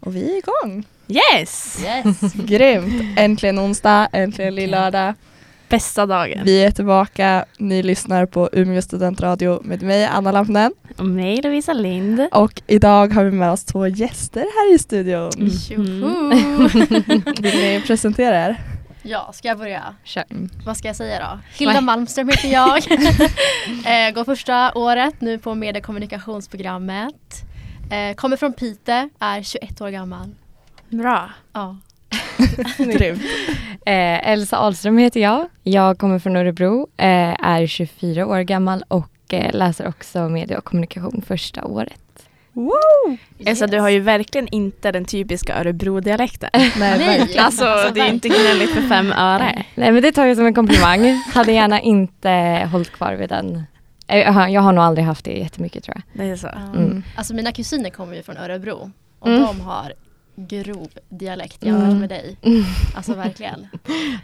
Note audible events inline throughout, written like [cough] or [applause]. Och vi är igång! Yes! Yes. Grymt! Äntligen onsdag, äntligen lillördag. Bästa dagen. Vi är tillbaka. Ni lyssnar på Umeå studentradio med mig, Anna Lampnen. Och mig Lovisa Lind. Och idag har vi med oss två gäster här i studion. Mm. Mm-hmm. Vill ni presentera er? [laughs] Ja, ska jag börja? Kör. Mm. Vad ska jag säga då? Hilda Malmström heter [laughs] jag. eh, går första året nu på medie- och kommunikationsprogrammet. Eh, kommer från Pite, är 21 år gammal. Bra. Ja. Grymt. Eh, Elsa Ahlström heter jag. Jag kommer från Örebro, eh, är 24 år gammal och eh, läser också media och kommunikation första året. Elsa, du har ju verkligen inte den typiska Örebro-dialekten. Nej, verkligen. Alltså, det är inte gnälligt för fem öre. Eh, Nej men det tar jag som en komplimang. [laughs] Hade gärna inte hållit kvar vid den. Eh, jag har- Jag har nog aldrig haft det jättemycket tror jag. Det är så. Ja. Mm. Alltså mina kusiner kommer ju från Örebro och Mm. de har grov dialekt jämfört Mm. [laughs] med dig. Alltså verkligen.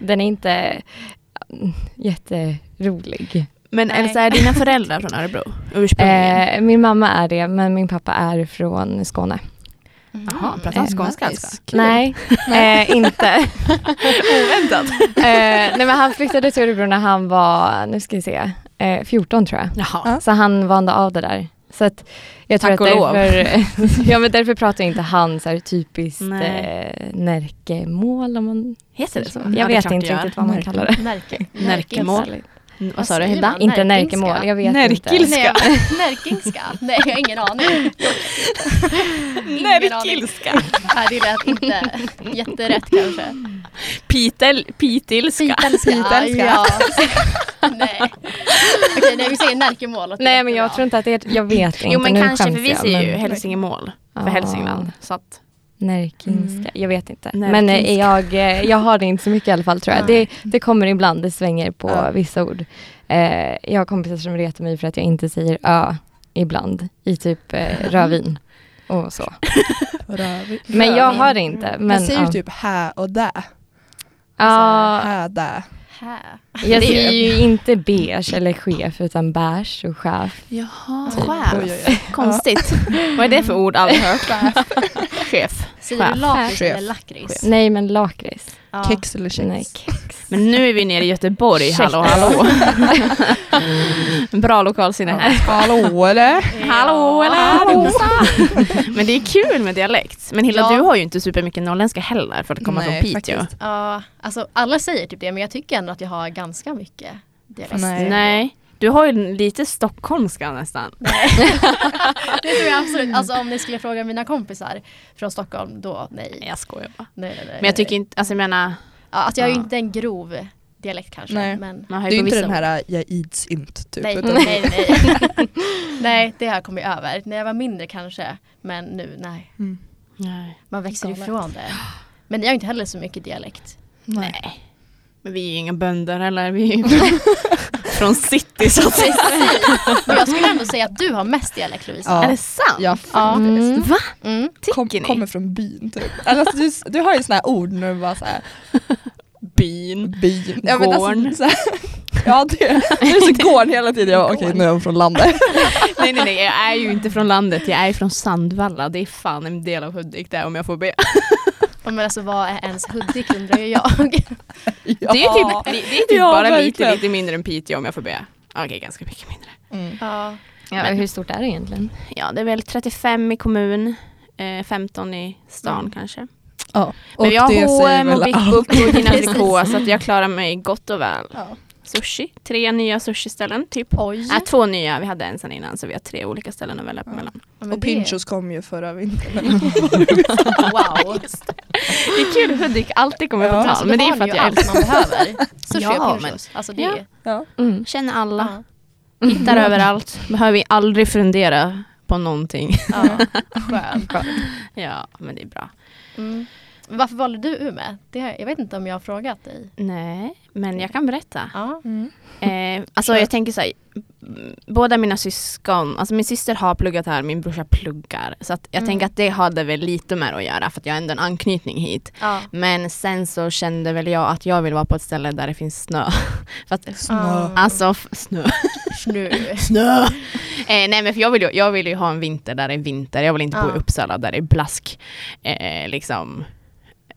Den är inte mm, jätterolig. Men Nej. Elsa, är dina föräldrar från Örebro ursprungligen? Eh, min mamma är det men min pappa är från Skåne. Mm. Jaha, pratar eh, han skånska nice. alltså? [laughs] Nej, eh, inte. [laughs] Oväntat. Eh, nej men han flyttade till Örebro när han var, nu ska vi se, eh, 14 tror jag. Jaha. Så han vande av det där. Så att jag tror Tack att och lov. [laughs] därför, ja, men därför pratar inte han så här typiskt Nej. eh, Närkemål. Om man, Heter det så? jag Ja, det är vet klart inte det gör. riktigt vad man Närke. kallar [laughs] det. Närke, Närkemål. närkingska. Mm, Vad Vad sa du säger Hilda? man? Inte Närkingska. närkemål, jag vet Närkilska. inte. Nej, jag- Närkingska? Nej, jag har [laughs] ingen aning. Ingen aning. Nej, det lät inte jätterätt kanske. Pitel, pitilska. Pitälska. Pitälska. Ja. nej. Okej, nej, vi säger närkemål. åt Nej det men bra. jag tror inte att det är, jag vet inte. [laughs] Jo men nu kanske, skäms för vi jag, säger men- ju hälsingemål för Ja. Hälsingland. Så att, Närkinska, Mm. jag vet inte. Men Närkinska. eh, jag, eh, jag har det inte så mycket i alla fall tror jag. Det, Nej. det kommer ibland, det svänger på Ja. vissa ord. Eh, jag har kompisar som retar mig för att jag inte säger ö ibland i [laughs] typ eh, rödvin och så. Röv- Men jag rövin. har det inte. Men, jag säger ju ja. typ här och Alltså, där. Ja, Här, där. Hä. jag Det är säger ju inte beige eller chef utan bärs och chef. Jaha, Typ. chef. Oj, oj, oj. Konstigt. [laughs] Vad är det för ord aldrig hört? Chef. Chef. Säger Chef. du lakrits Chef. eller lakrits? Nej men lakrits. Ja. Kex eller kex? Nej, kex. Men nu är vi nere i Göteborg, Ursäkta. hallå hallå. [laughs] Bra lokalsinne här. Hallå eller? Ja. Hallå eller? Men det är kul med dialekt. Men Hilda Ja. du har ju inte supermycket norrländska heller för att komma Nej, från Piteå. faktiskt. Ja, alltså alla säger typ det men jag tycker ändå att jag har ganska mycket dialekt. Nej. Nej. Du har ju lite stockholmska nästan. [laughs] Det tror jag absolut. Alltså om ni skulle fråga mina kompisar från Stockholm då nej. Nej, Jag skojar bara. nej, nej, nej Men jag tycker nej. inte, alltså jag menar, Ja, alltså, jag har ju Ja. Mm, inte en grov dialekt kanske. Nej. Men, man Det har är ju ju på inte vissa den här äh, jag ids inte typ. nej, [laughs] utan- nej, nej. [laughs] nej, det har jag kommit över. När jag var mindre kanske, men nu nej. Mm. ord. Nej. Man växer Galet. ifrån det. Men jag har inte heller så mycket dialekt. Nej. Men vi är ju inga bönder eller vi är ju [laughs] från city så att säga. Men jag skulle ändå säga att du har mest dialekt Lovisa. Ja. Är det sant? Ja, Mm. Va? Mm. Kom, Tycker ni? kommer från byn typ. Alltså, du, du har ju såna här ord när du bara såhär Byn. byn. Gården. Alltså, så här, [laughs] ja det, det är [laughs] så gården hela tiden. Jag bara, Okej nu är hon från [laughs] landet. Nej nej nej, jag är ju inte från landet, jag är från Sandvalla. Det är fan en del av Hudik där om jag får be. Ja, Men alltså vad är ens Hudik undrar ju jag. Ja. Det är typ, det, det är typ Ja, bara lite, verkligen. lite mindre än Piteå om jag får be. Okej, ganska mycket mindre. Mm. Ja. Ja, hur stort är det egentligen? Ja, det är väl 35 i kommun, eh, 15 i stan kanske. Ja. Mm. Men jag det har säger H&M och väl- Big [laughs] Book och Gymnastik K så att jag klarar mig gott och väl. Ja. Sushi, tre nya sushiställen typ. Oj. Äh, två nya, vi hade en sen innan så vi har tre olika ställen att välja Ja. mellan. Ja, men Och det- [laughs] Pinchos kom ju förra vintern. Wow. Det är kul, Hudik alltid kommer Ja. på Alltså, tal. Men det då är har för ni att ju jag allt man behöver. Sushi [laughs] Ja, och pinchos. Alltså det Ja. är Ja. Mm. känner alla, ja. Mm. hittar överallt. Behöver vi aldrig fundera på någonting. [laughs] ja. Skönt. Ja, men det är bra. Mm. Men Varför valde du Umeå? Det, har- jag vet inte om jag har frågat dig. Nej, men jag kan berätta. Ja. Mm. Eh, alltså jag tänker så här, mm, båda mina syskon, alltså min syster har pluggat här, min brorsa pluggar. Så att jag Mm. tänker att det hade väl lite med att göra för att jag har ändå en anknytning hit. ja. Men sen så kände väl jag att jag vill vara på ett ställe där det finns snö. Mm. för Ah. att, Snö. alltså f- snö. Nu. snö. Eh, nej men för jag vill, ju, jag vill ju ha en vinter där det är vinter. Jag vill inte bo Ja. i Uppsala där det är blask. Eh, liksom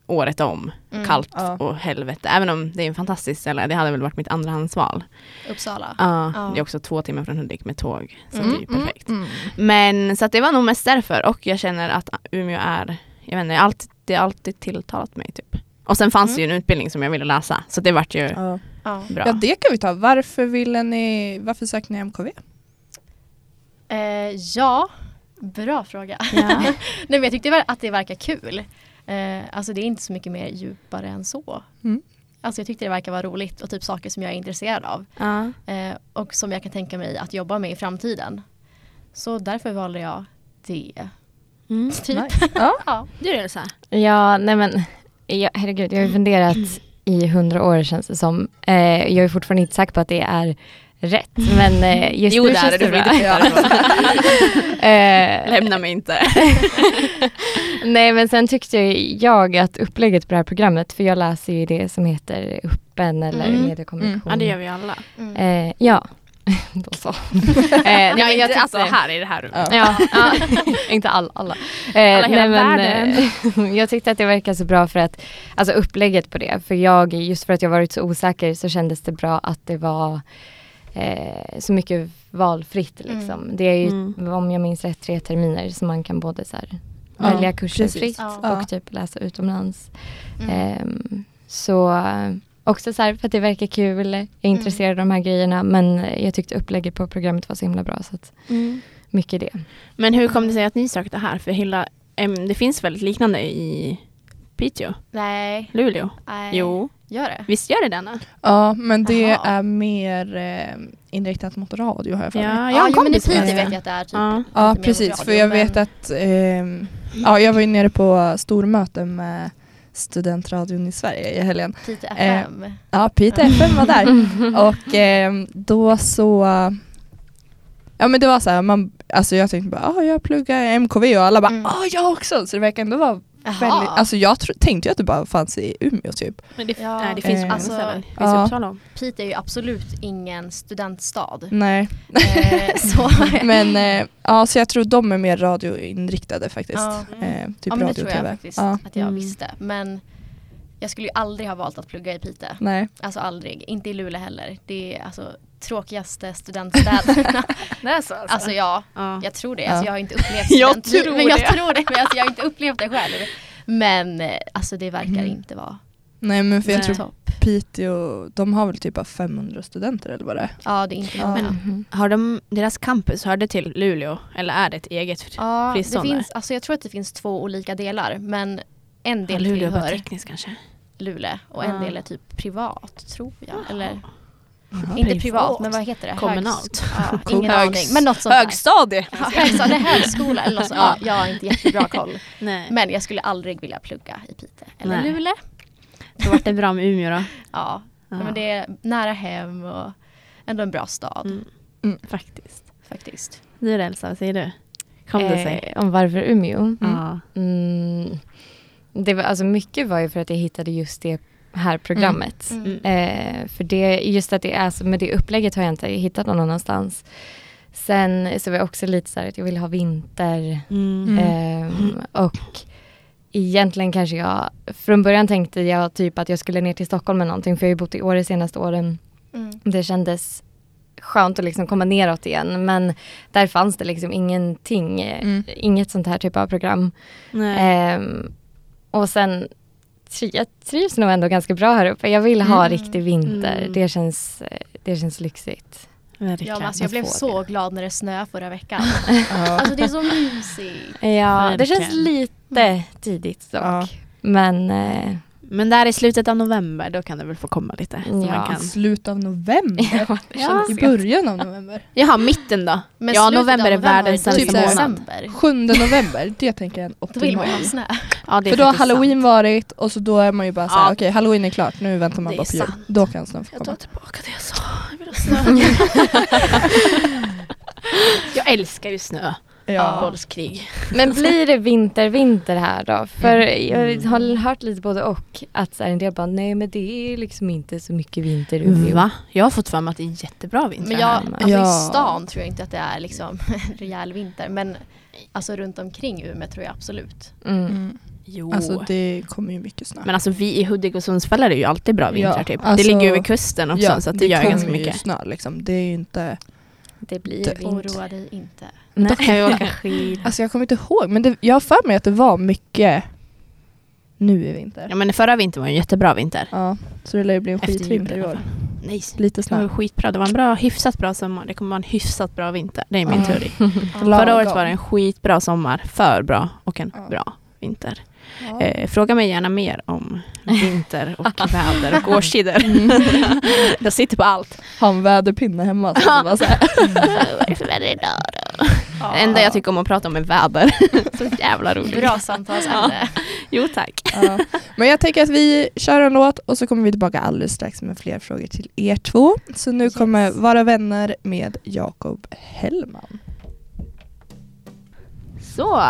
året om. Mm. Kallt ja. och helvete. Även om det är en fantastisk ställe. Det hade väl varit mitt andrahandsval. Mm. Uppsala. Ja, Ja. det är också två timmar från Hudik med tåg. Så det är ju Mm, mm, perfekt. mm. Men så att det var nog mest därför och jag känner att Umeå är, jag vet inte, alltid, det har alltid tilltalat mig typ. Och sen fanns det ju en utbildning som jag ville läsa så det vart ju Ja. Ja. bra. ja, det kan vi ta. Varför ville ni, varför sökte ni MKV? Eh, ja, bra fråga. Ja. [laughs] Nej, men jag tyckte väl att det verkar kul. Eh, alltså det är inte så mycket mer djupare än så. Mm. Alltså jag tyckte det verkar vara roligt och typ saker som jag är intresserad av. Ja. Eh, och som jag kan tänka mig att jobba med i framtiden. Så därför valde jag det. [laughs] Mm. Typ. Ja. [laughs] Ja. Du Elsa? Ja, nej men ja, herregud, jag har ju funderat i hundra år känns det som. Eh, jag är fortfarande inte säker på att det är rätt, men eh, just Jo nu det är känns det, du det får inte bra. flytta därifrån. [laughs] [laughs] Eh, Lämna mig [laughs] inte. nej, men sen tyckte jag att upplägget på det här programmet, för jag läser ju det som heter Öppen eller Mm. mediekommunikation. Ja det gör vi alla. Mm. Eh, ja, [laughs] då så. Eh, nej, men Ja, inte, tyckte- alltså här i det här rummet. Ja. Ja, ja. [laughs] inte all, alla. Eh, Alla hela eh, [laughs] jag tyckte att det verkar så bra för att, alltså upplägget på det, för jag, just för att jag varit så osäker så kändes det bra att det var eh, så mycket valfritt liksom. Det är ju, Mm. om jag minns rätt, tre terminer som man kan både så här, Ja, välja kurser precis. fritt Ja. Ja. och typ läsa utomlands. Mm. Ehm, så eh, också så här för att det verkar kul, jag är intresserad av de här grejerna men eh, jag tyckte upplägget på programmet var så himla bra så att mycket det. Men hur kom det sig att ni sökte här? För hela, em, det finns väl ett liknande i Piteå? Nej. Luleå? Nej. Jo, Gör det? visst gör det denna? Ja, men det Jaha. är mer eh, inriktat mot radio har jag för mig. Ja, jag Ja, har en jo, men i kompis Piteå med det. vet jag att det är typ. Ja. Ja, lite mer precis. radio, För jag men- vet att ehm, ja, jag var ju nere på stormöte med studentradion i Sverige i helgen. Piteå FM. Ja, Piteå FM var [laughs] där. Och ehm, då så... Ja men det var så här, man, alltså jag tänkte bara ah, jag pluggar MKV och alla bara Mm. ah, jag också. Så det verkar ändå vara Jaha. väldigt, alltså jag tro, tänkte ju att det bara fanns i Umeå typ. Men det, Ja. nej, det finns Eh, på andra alltså, ställen. Det finns ja. i Uppsala. Piteå är ju absolut ingen studentstad. Nej. [laughs] Eh, så. Men eh, ja, så jag tror de är mer radioinriktade faktiskt. Ja. Eh, typ ja, men det radio tror och jag tv. faktiskt Ja, att jag Mm. visste. Men jag skulle ju aldrig ha valt att plugga i Piteå. nej. Alltså aldrig. Inte i Luleå heller. Det är alltså tråkigaste studentstäderna. Det är så [laughs] alltså? alltså ja, ja. jag tror det. Ja. Alltså, jag har inte upplevt [laughs] Jag studentliv. tror men jag det. tror det. Men alltså, jag har inte upplevt det själv. Men eh, alltså det verkar Mm. inte vara Nej men för jag Nej. tror topp. Piteå, de har väl typ bara 500 studenter eller vad det är. Ja, det är inte Ja. många. Men- Mhm. Har de, deras campus, hör det till Luleå? Eller är det ett eget? typ? fri- Ja, det Frisson där. finns, alltså jag tror att det finns två olika delar men en Ja, del Luleå var tillhör tekniskt kanske? Luleå och en Ah. del är typ privat tror jag. Eller Jaha. inte Privat. privat, men vad heter det? Kommunalt. Högs- [laughs] ja, ingen Högs- aning men något sånt där. Högstadie! [laughs] Ja, högsta- nej, högskola eller något sånt. Ja, jag har inte jättebra koll. Nej. [laughs] Men jag skulle aldrig vilja plugga i Piteå eller Nej. Luleå. Då vart det bra med Umeå då. Ja, Ja. men det är nära hem och ändå en bra stad Mm. Faktiskt. faktiskt. Du då, Elsa, vad säger du? Kom det sig? Eh, om varför Umeå? Ja. Mm. Det var, alltså mycket var ju för att jag hittade just det här programmet. Mm. Mm. Eh, för det, just att det är så, med det upplägget har jag inte hittat någon annanstans. Sen så var jag också lite så här att jag ville ha vinter. Mm. Ehm, och egentligen kanske jag, från början tänkte jag typ att jag skulle ner till Stockholm eller någonting för jag har ju bott i Åre de senaste åren. Mm. Det kändes skönt att liksom komma neråt igen men där fanns det liksom ingenting, eh, Mm. inget sånt här typ av program. Eh, Nej. Ehm, och sen tri- jag trivs nog ändå ganska bra här uppe. Jag vill ha Mm. riktig vinter. Mm. Det, känns, eh, det känns lyxigt. Verkligen. Ja, men alltså jag blev Vad så svår glad när det snöade förra veckan. Ja. Alltså det är så mysigt. Ja, det känns Verkligen. lite tidigt dock. Ja. Mm. Men eh, Men där i slutet av november, då kan det väl få komma lite. så Ja. Man kan. Slut av november? det Ja. I början av november? Jaha, mitten då? Men ja, slutet av november är världens typ sämsta typ där. månad. december. 7 november, det tänker jag är en Då vill optimal. man ju ha snö. Ja, det är För då har faktiskt sant. halloween varit och så då är man ju bara såhär, Ja. okej halloween är klart, nu väntar man Det bara är på jul. sant. Då kan snön få Jag tar komma. tillbaka det jag sa. Jag vill ha [laughs] snö. jag älskar ju snö. Ja. Bollskrig. Men blir det vinter-vinter här då? För jag har hört lite både och. Att så här, en del bara, nej men det är liksom inte så mycket vinter i Umeå. Va? Jag har fått för mig att det är jättebra vinter Men jag, här. alltså Ja. i stan tror jag inte att det är liksom [laughs] rejäl vinter. Men alltså runt omkring Umeå tror jag absolut. Mm. Mm. Jo. Alltså det kommer ju mycket snö. Oh. men alltså vi i Hudik och Sundsvall är det ju alltid bra vintrar Ja, typ. alltså- det ligger ju vid kusten också så att det, gör kommer ganska ju mycket. snö liksom. Det är ju inte... Det blir Typ. Det- vinter. Oroa dig inte. Då kan [laughs] jag åka skid. Alltså jag kommer inte ihåg men det, jag har för mig att det var mycket nu i vinter. Ja men förra vintern var ju en jättebra vinter. Ja, så det lär ju bli en Efter skitvinter i jul i alla år. fall. Nej, Lite det var ju snö. skitbra. Det var en bra, hyfsat bra sommar. Det kommer vara en hyfsat bra vinter. Det är min Ja. teori. [laughs] Lagom. Förra året var det en skitbra sommar. För bra och en Ja. bra vinter. Ja. Eh, fråga mig gärna mer [laughs] om vinter och väder och årstider. Mm. [laughs] Jag sitter på allt. Har en väderpinne hemma. Så det var så här. Vad är det för väder idag då? Det enda jag tycker om att prata om är väder. [laughs] Så jävla roligt. Bra samtalsämne. Jo tack. [laughs] ja. Men jag tänker att vi kör en låt och så kommer vi tillbaka alldeles strax med fler frågor till er två. Så nu kommer Vara vänner med Jakob Hellman. Så,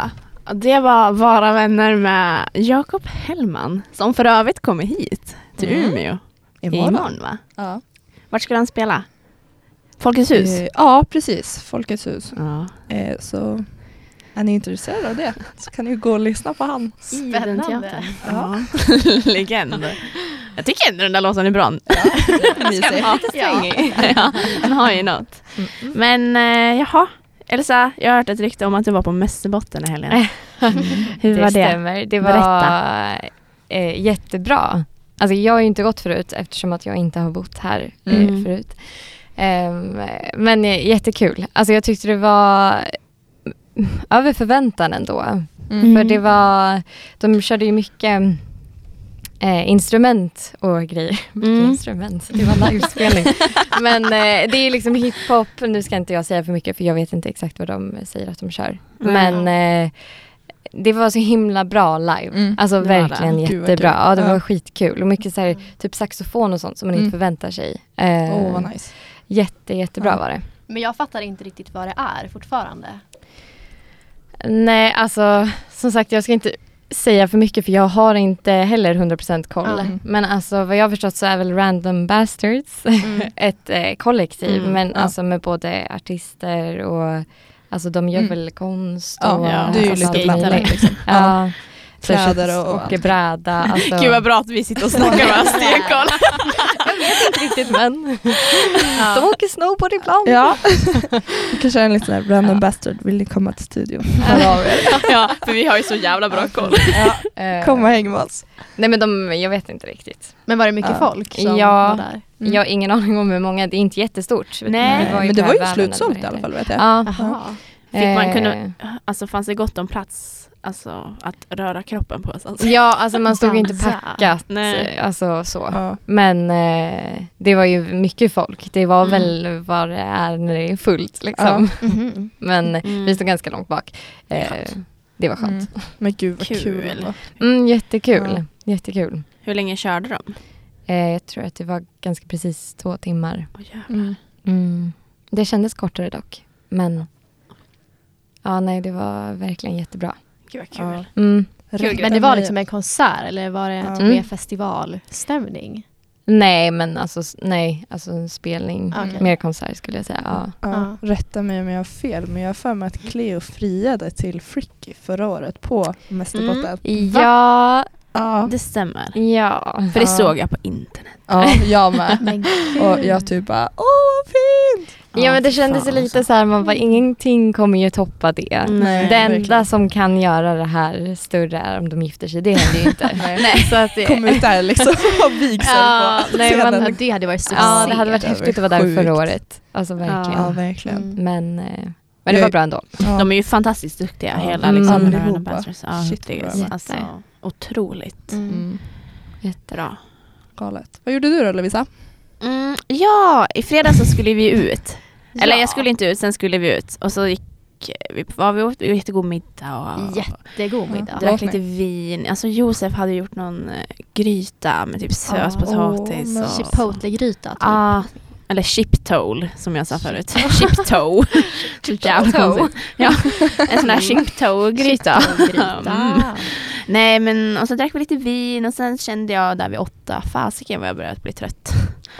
det var Vara vänner med Jakob Hellman som för övrigt kommer hit till Mm. Umeå imorgon va? Ja. Vart skulle han spela? Folkets hus? Eh, Ja, precis. Folkets hus. Ja. Eh, Så är ni intresserade av det så kan ni ju gå och lyssna på han. [laughs] Spännande. [laughs] Ja. Legend. Jag tycker ändå den där låten är [laughs] bra. Mysigt. svängig. [laughs] ja, han har ju något. Men eh, jaha, Elsa, jag har hört ett rykte om att du var på Mästerbotten i [laughs] helgen. Hur var Eh, det? stämmer. Det var Berätta. eh, jättebra. Alltså jag har ju inte gått förut eftersom att jag inte har bott här eh, Mm. förut. Ehm, men eh, jättekul. Alltså jag tyckte det var mm, över förväntan ändå. Mm. För det var, de körde ju mycket eh, instrument och grejer. Mycket Mm. instrument, det [laughs] var livespelning. Men eh, det är liksom hiphop, nu ska inte jag säga för mycket för jag vet inte exakt vad de säger att de kör. Mm. Men eh, det var så himla bra live. Mm. Alltså Det var det. verkligen Gud, vad jättebra. kul. Ja, det var Ja. skitkul. Och mycket så här, typ saxofon och sånt som man Mm. inte förväntar sig. Eh, Åh, vad nice. Jätte, jättebra Ja. var det. Men jag fattar inte riktigt vad det är fortfarande. Nej, alltså som sagt jag ska inte säga för mycket för jag har inte heller 100% koll. Mm. Men alltså vad jag har förstått så är väl Random Bastards ett eh, kollektiv Mm, men ja. alltså med både artister och alltså de gör Mm. väl konst Ja, och ja. det är ju alltså, lite allt blandat möjligt. liksom. Ja. Ja. Kläder och- [laughs] och bräda. Alltså, Gud vad bra att vi sitter och snackar med en [laughs] stenkoll. inte riktigt men. De åker snowboard ibland. Ja. Du [laughs] kanske är en liten random bastard. Vill ni komma till studion? Hör av er. ja, för vi har ju så jävla bra koll. Eh, Kom och häng med oss. Nej men de, jag vet inte riktigt. Men var det mycket Ja. folk som Ja. var där? Mm. Jag har ingen aning om hur många, det är inte jättestort. Nej. Det var Men det var ju Tvärväven slutsålt eller vad i alla det fall vet heter. jag. Ja. Jaha. Fick man Eh, kunna- Alltså fanns det gott om plats alltså, att röra kroppen på? Alltså. Ja, alltså man stod ju inte Dansa. packat. Nej. Alltså så. Ja. Men eh, det var ju mycket folk. Det var väl vad det är när det är fullt liksom. Mhm. [laughs] Men Mm. vi stod ganska långt bak. Eh, det var Mm. skönt. Men gud vad Kul. kul. det var. Mm, jättekul. Jättekul. Hur länge körde de? Eh, jag tror att det var ganska precis två timmar. Åh, jävlar. Mm. Mm. Det kändes kortare dock. Men ja, nej, det var verkligen jättebra. Gud vad kul. Ja. Mm. Rätt Men det var ämne. liksom en konsert eller var det typ Ja. mer festivalstämning? Nej, men alltså, s- nej, alltså en spelning. Okej. Mer konsert skulle jag säga. Ja. Mm. Ja. Rätta mig om jag har fel men jag har för mig att Cleo friade till Fricky förra året på Mästerbotten. Mm. Ja, Ja. Det stämmer. ja. För det Ja. såg jag på internet. ja, jag med. Men [laughs] gud. Och jag typ bara åh vad fint! Ja men det fy kändes fan, alltså. lite så här, man bara ingenting kommer ju toppa det. Nej, det verkligen. enda som kan göra det här större är om de gifter sig, det händer [laughs] ju inte. Nej. [laughs] Så att det, Kom ut där liksom och vigsel Ja, på nej, man- Ja, scenen. det hade varit succé. ja, det hade varit Det var häftigt att vara där sjukt. förra året. Alltså verkligen. Ja verkligen. Mm. Men, eh, men det var bra ändå. Ja. De är ju fantastiskt duktiga Ja. hela Mm. liksom. Allihopa. Random Bastards. Ja, Shit, det vad är bra. alltså, otroligt. Mm. Mm. Jättebra. Galet. Vad gjorde du då Lovisa? Mm, ja, i fredags så skulle vi ut. Eller jag skulle inte ut, sen skulle vi ut. Och så gick vi, var vi åt vi åt jättegod middag och Jättegod middag. Ja. drack lite vin. Alltså Josef hade gjort någon eh, gryta med typ sötpotatis. men och- Chipotle-gryta typ. Ja, eller chiptole som jag sa förut. [laughs] Chiptoe. Jävla konstigt. Ja, en sån där chiptoe-gryta. Chipotle-gryta. Mm. Nej men och så drack vi lite vin och sen kände jag där vid åtta, fasiken vad jag börjat bli trött.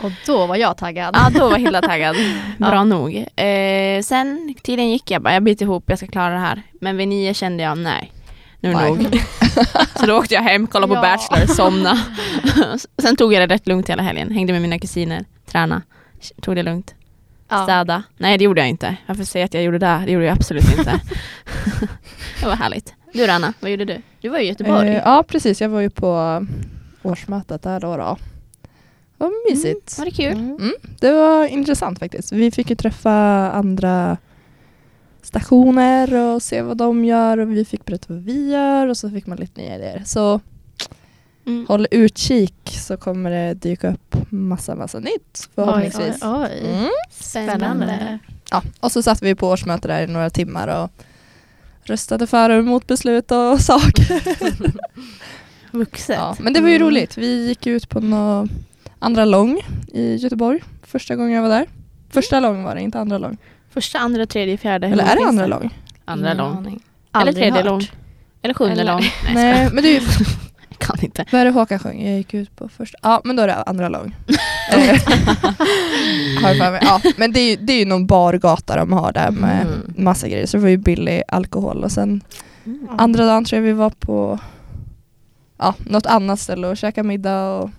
Och då var jag taggad. Ja då var Hilda taggad. [laughs] Bra nog. Eh, sen tiden gick jag bara, jag biter ihop, jag ska klara det här. Men vid nio kände jag nej, nu är det Nej. [laughs] nog. så då åkte jag hem, kollade Ja. på Bachelor, somna. [laughs] sen tog jag det rätt lugnt hela helgen, hängde med mina kusiner, träna, tog det lugnt. [laughs] Ja. Städa. Nej det gjorde jag inte. Varför säga att jag gjorde det? Det gjorde jag absolut [laughs] inte. det var härligt. Du då, Anna, vad gjorde du? Du var ju i Göteborg. Eh, ja precis, jag var ju på årsmötet där då. då. Vad mysigt. Var det kul? Mm, det var intressant faktiskt. Vi fick ju träffa andra stationer och se vad de gör och vi fick berätta vad vi gör och så fick man lite nya idéer. Så Mm. håll utkik så kommer det dyka upp massa, massa nytt Oj, förhoppningsvis. oj, oj. Mm. Spännande. Ja, och så satt vi på årsmöte där i några timmar och röstade för och emot beslut och saker. Vuxet. Ja, men det var ju Mm. roligt. Vi gick ut på nå andra lång i Göteborg första gången jag var där. Första lång var det, inte andra lång. Första, andra, tredje, fjärde. hur Eller är det finns andra lång? Andra Ingen lång. aning. Eller Aldrig tredje hört. lång. Eller sjunde Eller- lång. Nej, Nej. Nej, men det är ju [laughs] jag kan inte. Vad är det Håkan sjöng? Jag gick ut på första... Ja, men då är det andra lång. Eh, [laughs] Har jag för mig. Ja, men det är, ju- det är ju någon bargata de har där med Mm. massa grejer. Så det var ju billig alkohol och sen andra dagen tror jag vi var på ja, något annat ställe och käkade middag och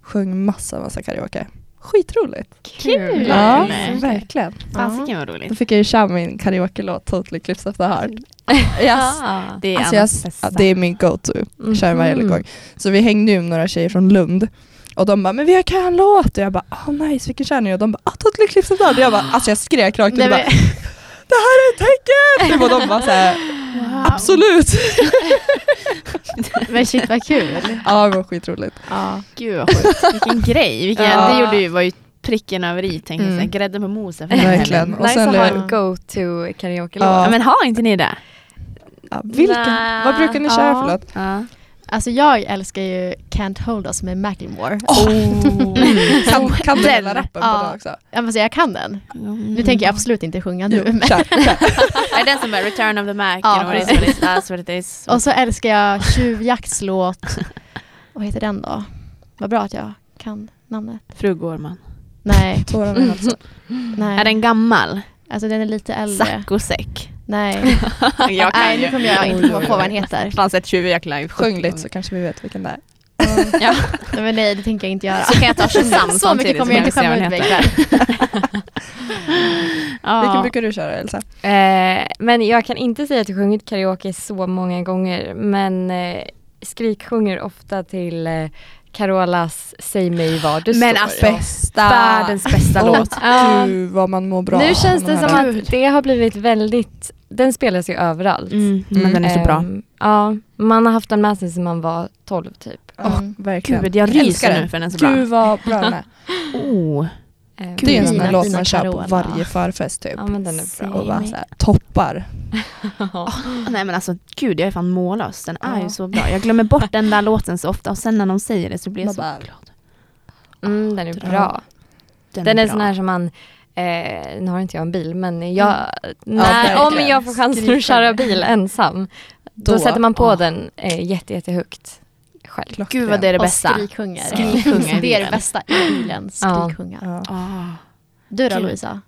sjöng massa, massa karaoke. Skitroligt! Kul. Ja, Nej. verkligen. Fasiken vad Då roligt. fick jag ju köra min karaoke-låt Totally Clips of the Heart. [laughs] Yes. Ah. Mm. Det är Alltså jag, Annas bästa. Mm. ja, det är min go-to. Mm. kör varje gång. Så vi hängde ju med några tjejer från Lund och de bara, men vi har kör en låt och jag bara, ah nice vilken kör ni? Och de bara, ah Totally Eclipse of the Heart. och jag bara, alltså jag skrek rakt ut Nej, och bara, men, det här är ett tecken! Typ, och de bara såhär, [laughs] absolut! men shit vad kul. Ja det var skitroligt. Ja. Gud vad sjukt. Vilken grej. Vilken, Ja. Det gjorde ju, var ju pricken över i tänkte jag Mm. säga. Grädden på moset. Verkligen. Och nice sen, att ha en eh, go-to karaoke Ja. Ja, men har inte ni det? Ja, vilken, Nä. vad brukar ni köra Ja. för låt? Ja. Alltså jag älskar ju Can't Hold Us med Macklemore. Oh. [laughs] Kan, kan du Den. hela rappen på Ja. den också? Ja, men så jag kan den. Nu tänker jag absolut inte sjunga nu. Jo, Men. [laughs] kör, [laughs] kör. Mm. Är det den som är Return of the Mac? Ja, you know, what it is, what it is, that's what it is. Och så älskar jag Tjuvjaktslåt. Vad heter den då? Vad bra att jag kan namnet. Fru Gårman. Nej, Tårarna i halsen. nej. Är den gammal? Alltså den är lite äldre. Saccosäck. Nej, [laughs] jag kan nej nu ju. kommer jag inte komma Oj, oj, på vad oj. den [laughs] heter. Det fanns ett tjuvjakt live. Sjung lite så kanske vi vet vilken det är. Ja. Nej, men nej, det tänker jag inte göra. Så kan [laughs] jag [laughs] ta Shazam Så mycket kommer jag inte skämma ut mig [laughs] ikväll. Vilken ja. brukar du köra Elsa? Eh, men jag kan inte säga att jag sjungit karaoke så många gånger men eh, skrik sjunger ofta till eh, Carolas Säg mig var du Men står. alltså, Bästa! Världens bästa Åh, låt. Ja. Gud vad man mår bra. nu känns av det den här som låten. att det har blivit väldigt, den spelas ju överallt. Mm, men Mm. den är så bra. Ehm, ja, man har haft den med sig sedan man var 12 typ. Åh, Mm. verkligen. Gud, jag älskar ryser den. nu för den är så bra. Gud vad bra den är. Oh. Ehm, Det är en sån Fina, där låt fina man kör på Carola. varje förfest typ. Ja men den är bra. Och bara mig. så här, toppar. Nej men alltså gud, jag är fan mållös. Den är Ja. ju så bra. Jag glömmer bort den där låten så ofta och sen när någon säger det så blir jag Man så bara- glad. Mm, den är Ja. bra. Den är bra. sån här som man Eh, nu har inte jag en bil men jag, när, verkligen. om jag får chansen Skriker. att köra bil ensam Då, Då. sätter man på Ja. den eh, jätte, jättehögt själv. Klockren. Gud vad det är det Och bästa. skriksjunger. Skriksjunger i [laughs] Det är det bilen. bästa i bilen. Skriksjunga. Ja. Ah. Du då Kul. Lovisa?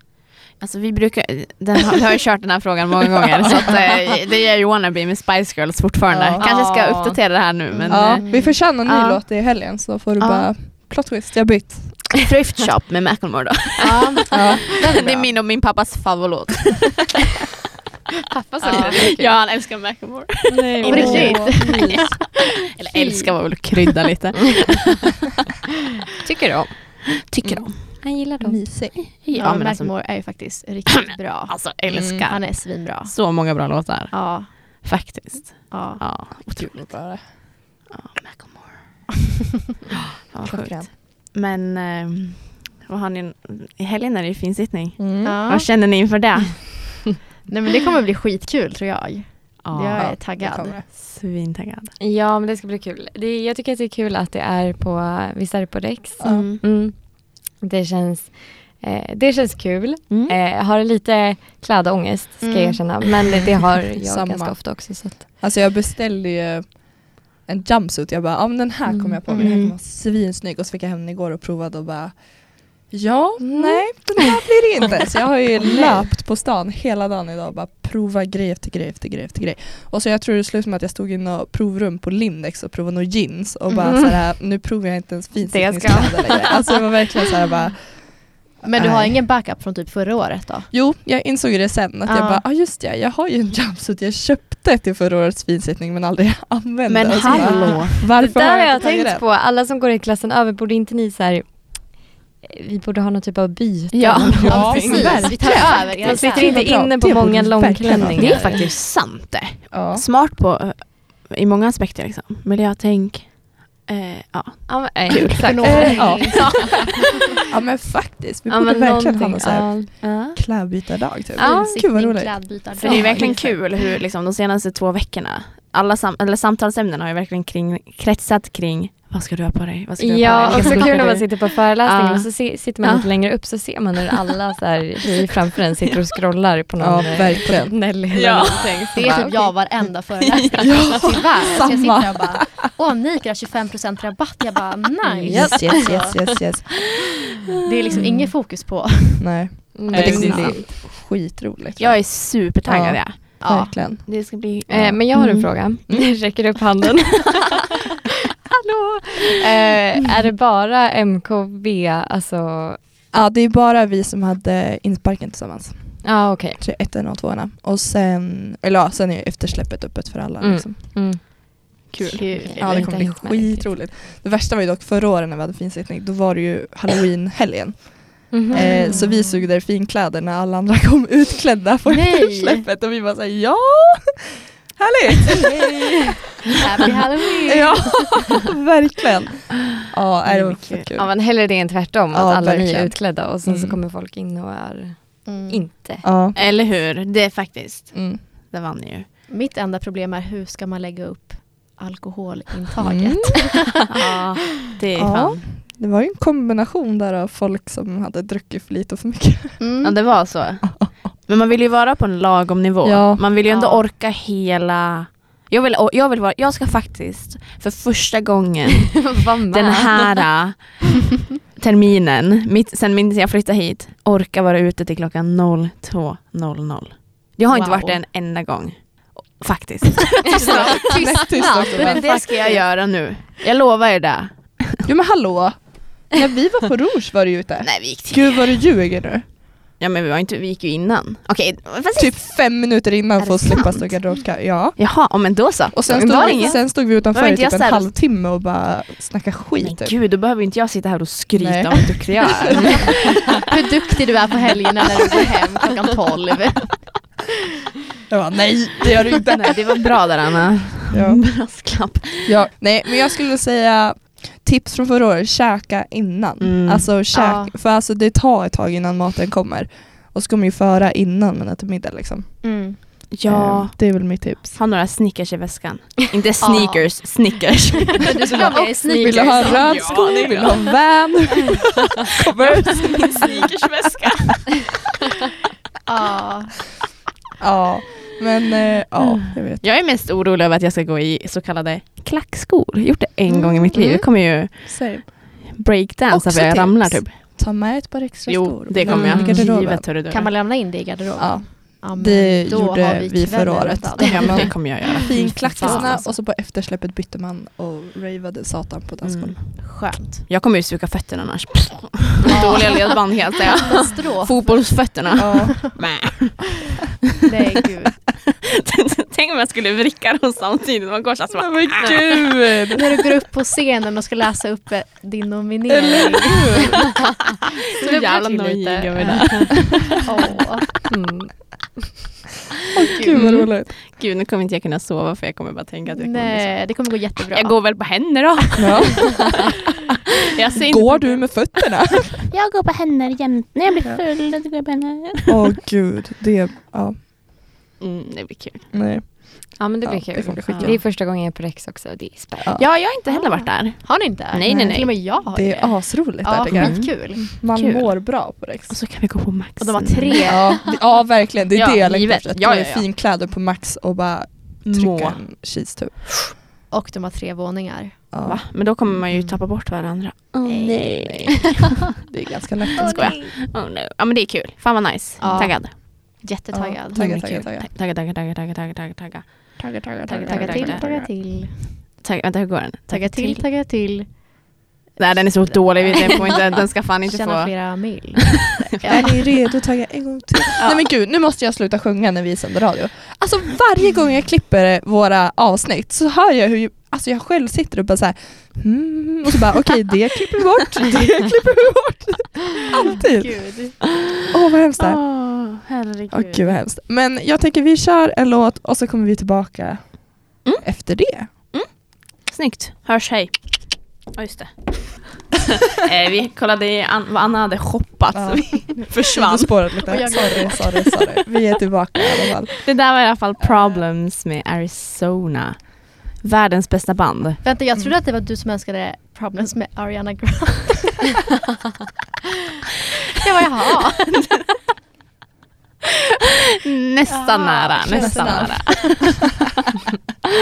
Alltså vi brukar, den har, vi har ju kört den här frågan många gånger så att, eh, det är ju Wannabe med Spice Girls fortfarande. Ja. Kanske ska jag Ja. uppdatera det här nu men ja, eh, vi får köra någon ny Ja. låt i helgen så får du Ja. bara plot twist, jag har bytt. Thrift Shop med Macklemore då. Ja, Ja. eh. [laughs] det är min och min pappas favoritlåt. pappa ja han älskar Macklemore. [laughs] Nej, På riktigt? [laughs] Ja. Eller älskar var väl att krydda lite. Tycker du om? Tycker om. Han gillar dem. Mysig. Ja, Ja, men alltså, Macklemore är ju faktiskt riktigt bra. alltså Mm, älskar. Han är svinbra. Så många bra låtar. Ja, Faktiskt. ja. Ja, Otroligt bra det. ja Macklemore. [laughs] Ja, vad Klockren. sjukt. Men eh, vad har ni, i helgen är det ju finsittning. Mm. Ja. Vad känner ni inför det? Nej men det kommer bli skitkul tror jag. Ja, Jag det är kommer taggad. det. Svintaggad. Ja, men det ska bli kul. Det, jag tycker att det är kul att det är på, visst är det på Rex? Ja. Mm. Mm. Det, känns, eh, det känns kul. Mm. Eh, jag har lite klädångest ska Mm. jag erkänna. Men [laughs] det har jag Samma. ganska ofta också. Så att, Alltså jag beställde ju en jumpsuit. Jag bara, ja men den här Mm. kommer jag på mig. Den här Mm. kommer vara svinsnygg. Och så fick jag hem den igår och provade och bara, ja, Mm. nej, den här blir det inte. Så jag har ju [laughs] löpt på stan hela dagen idag och bara prova grej efter grej efter grej efter grej. Och så jag tror det slutade med att jag stod i något provrum på Lindex och provade några jeans och bara Mm. så här, nu provar jag inte ens Det finsittningskläder längre. Alltså det var verkligen så här bara, Men du har Nej. ingen backup från typ förra året då? Jo, jag insåg ju det sen att Ja. jag bara, ja ah, just det, jag har ju en jumpsuit jag köpte till förra årets finsittning men aldrig använde. Men Och så bara, hallå. Varför det där har jag inte tagit tänkt den? på. Alla som går i klassen över, borde inte ni så här, eh, vi borde ha någon typ av byte? Ja, Ja, precis. Vi tar över era Man sitter kläder. inte vad bra. inne på Det borde många vi verkligen ha. långklänningar. Det är faktiskt sant det. Ja. Smart på, eh, i många aspekter liksom. Miljötänk. Eh, ja. Ja, men, eh, exakt. [laughs] Eh, [laughs] ja. ja men faktiskt, vi Ja, borde men verkligen ha någon någonting, så här ja. klädbytardag typ. Ja. Gud vad Finsittning, roligt. klädbytardag. För det är ju verkligen kul hur liksom, de senaste två veckorna, alla sam eller samtalsämnen har ju verkligen kring, kretsat kring vad ska du ha på dig? Vad ska du ha på Ja, [laughs] och dig? så Vilken kul när klocka man du- sitter på föreläsningar Ja. och så se, sitter man Ja. lite längre upp så ser man hur alla så här, tjejer framför en sitter och scrollar på någon Ja, eh, verkligen. på Nelly eller Ja. någonting. Så Det är bara, typ jag varenda föreläsning. [laughs] Ja, Tyvärr. Så jag sitter samma. där och bara, åh Nike har 25% rabatt. Jag bara, nice. Yes, yes, yes, yes, yes. Det är liksom inget fokus på. Nej, mm, jag tycker det är det sant. är skitroligt. Jag är supertaggad. Ja. Ja. Verkligen. Det ska bli... Eh, men jag har en Mm. fråga. Jag räcker upp [laughs] handen. [laughs] Hallå! Eh, är det bara MKB, alltså, ja Ja det är bara vi som hade insparken tillsammans. ah, okej. Så ettan och tvåorna. Och sen, eller ja, sen är ju eftersläppet öppet för alla Mm. liksom. Mm. Kul. Kul. Ja det kommer bli Inte hängt med skitroligt. Det värsta var ju dock förra året när vi hade finsittning, då var det ju halloween-helgen. Mm. Mhm. Eh, [laughs] så vi såg där finkläder när alla andra [laughs] kom utklädda på Nej. eftersläppet och vi bara såhär [laughs] ja! Härligt! Happy Halloween. ja, [laughs] verkligen. Ja, nej, det var Mm, kul. fett kul. Ja men hellre det än tvärtom, Ja, att alla ni är verkligen. utklädda och sen Mm. så kommer folk in och är Mm. inte. [laughs] Ja. Eller hur? Det är faktiskt. Mm. Det vann ju. Mitt enda problem är hur ska man lägga upp alkoholintaget? Mm. Ja, det är Ja. fan. Det var ju en kombination där av folk som hade druckit för lite och för mycket. [laughs] Mm. [laughs] Ja, det var så. Men man vill ju vara på en lagom nivå. Ja. Man vill ju ändå Ja. orka hela... Jag vill, jag vill vara, jag ska faktiskt för första gången Vad med. den här äh, terminen, mitt, sen min, jag flyttade hit, orka vara ute till klockan 02.00. Jag har inte Wow. varit det en enda gång. Faktiskt. [laughs] Näst tyst också bara. Men det ska jag göra nu. Jag lovar er det. Jo men hallå! När vi var på Rouge var du ju ute. Nej vi gick till... Gud vad du ljuger nu. Ja men vi, var inte, vi gick ju innan. Okej, fast Typ fem minuter Är innan för det att slippa sant? stå i garderobskö. Ja. Jaha, oh, men då så. Och sen Men var det stod, vi, inget? sen stod vi Var utanför det i inte typ en jag ställ- halvtimme och bara snacka Men skit. typ. gud, då behöver inte jag sitta här och skryta Nej. om hur duktig [laughs] jag är. Hur duktig du är på helgerna när du går hem klockan 12. Jag bara, nej det gör du inte. Nej, det var bra där Anna. Ja. Brasklapp. [laughs] Ja, Mm. nej men jag skulle säga tips från förra året, käka innan. Mm. Alltså käk, Ja. för alltså det tar ett tag innan maten kommer. Och så kommer ju föra innan man äter middag liksom. Mm. Ja. Eh, Det är väl mitt tips. Ehm, Ha några snickers i väskan. [laughs] Inte sneakers, snickers. Du ska ha med Vill [laughs] dig du sneakers. ha en röd liksom. Ja, sko? det är Vill du ha en [laughs] van? Converse? Sneakersväska. Ja. ja, men eh, ja, jag vet. Jag är mest orolig över att jag ska gå i så kallade klackskor. Gjort det en Mm, gång i mitt liv. mm. Jag kommer ju Same. breakdance Också för jag tips. ramlar typ. Ta med ett par extra Jo, skor. det kommer Mm. jag. Garderoben. Givet hörru du. Kan man lämna in det i garderoben? Ja, Ja, men det då har gjorde vi, förra kvällen året. redan. Då Ja, hade men det man kommer jag göra. Fan, finklackarna alltså. och så på eftersläppet bytte man och ravade satan på dansgolvet. Mm. Skönt. Jag kommer ju suga fötterna annars. [laughs] Dåliga ledband [laughs] helt säger jag. [laughs] Katastrof. Fotbollsfötterna. Ja. [laughs] Mä. Nej gud. Tänk om jag skulle vricka dem samtidigt. Man går så här så alltså, bara- "Ah." Nej, men [laughs] gud! När du går upp på scenen och ska läsa upp eh, din nominering. Så jävla nojig över det. Åh. Mm. Gud vad roligt. Gud, nu kommer inte jag kunna sova för jag kommer bara tänka att jag kommer bli så- Nej, det kommer gå jättebra. Jag går väl på händer då. [laughs] Ja. Jag ser Går du med [laughs] fötterna? Jag går på händer jämt. När jag blir full då går jag på händer. Åh gud, det, ja, Mm, det blir kul. nej. Ja men det Ja, blir det kul. kommer bli Det, skitkul. är första gången jag är på Rex också och det är spännande. Ja. Ja, jag har inte heller varit där. Har ni inte? Nej, nej, nej. Till och med jag har Det är asroligt Ja, där tycker jag. skitkul. Man kul. mår bra på Rex. Och [laughs] så kan vi gå på Max. Och de har tre Ja, det- ja verkligen, det är Ja, det jag längtar givet. efter. Att Ja, ta ja, i ja. finkläder på Max och bara trycka Må. en cheese-tub. och de har tre våningar. Ja. Va? Men då kommer man ju tappa bort varandra. Åh nej. Det är ganska lätt. Jag skojar. Åh, nej. Ja men det är kul. Fan vad nice. Ja. Taggad. Jättetaggad. Ja, taggad, Himla kul. taggad, taggad. Tagga, tagga, tagga, tagga, tagga, tagga, tagga. Taggad, taggad, Taggad, Tagga till, tagga till. Tagga, vänta hur går den? Tagga till, tagga till. Nej den är så dålig. Den, får inte, den ska fan inte [laughs] Tjäna få. flera mil. Är ni redo? Tagga en gång till. Nej men gud, nu måste jag sluta sjunga när vi sänder radio. Alltså varje gång jag klipper våra avsnitt så hör jag hur ju- alltså jag själv sitter och bara så här, mm, och så bara okej det klipper vi [laughs] bort, det klipper vi bort. Alltid. Gud. Åh vad hemskt det här. Åh, herregud. Åh gud vad hemskt. Men jag tänker vi kör en låt och så kommer vi tillbaka Mm. efter det. Snyggt. Hörs, hej. Ja, just det. [laughs] eh, vi kollade i an- vad Anna hade shoppat Ja. så vi [laughs] försvann. Spåret Och lite. jag- Sorry, sorry, sorry. Vi är tillbaka i alla fall. Det där var i alla fall Problems med Arizona. Världens bästa band. Vänta, jag trodde att det var du som önskade Problems med [laughs] Ariana Grande. jag bara, jaha. Nästan Ah, nära, close [laughs] nästan enough. nära.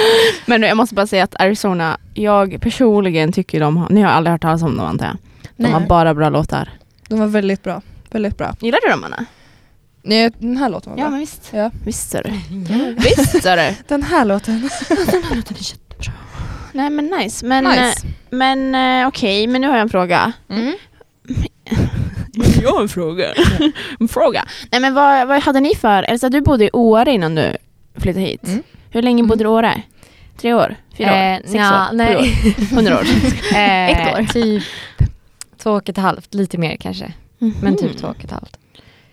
[laughs] Men jag måste bara säga att Arizona, jag personligen tycker de har, ni har aldrig hört talas om dem antar jag. De Nej. har bara bra låtar. De var väldigt bra. Väldigt bra. Gillar du dem Anna? Nej, den här låten var bra. men visst. Ja. Visst är du. Visst är du. Den här låten. Nej men nice. Men, Nice. eh, men eh, okej, men nu har jag en fråga. Mm. jag har en fråga. en fråga. Nej men vad, vad hade ni för, Elsa du bodde i Åre innan du flyttade hit. Mm. Hur länge bodde du i Åre? Tre år? Fyra år? Eh, Sex nja, år? nej. Sju år? Hundra år? [laughs] Eh, Ett år. Typ två och ett halvt, lite mer kanske. Mm-hmm. Men typ två och ett halvt.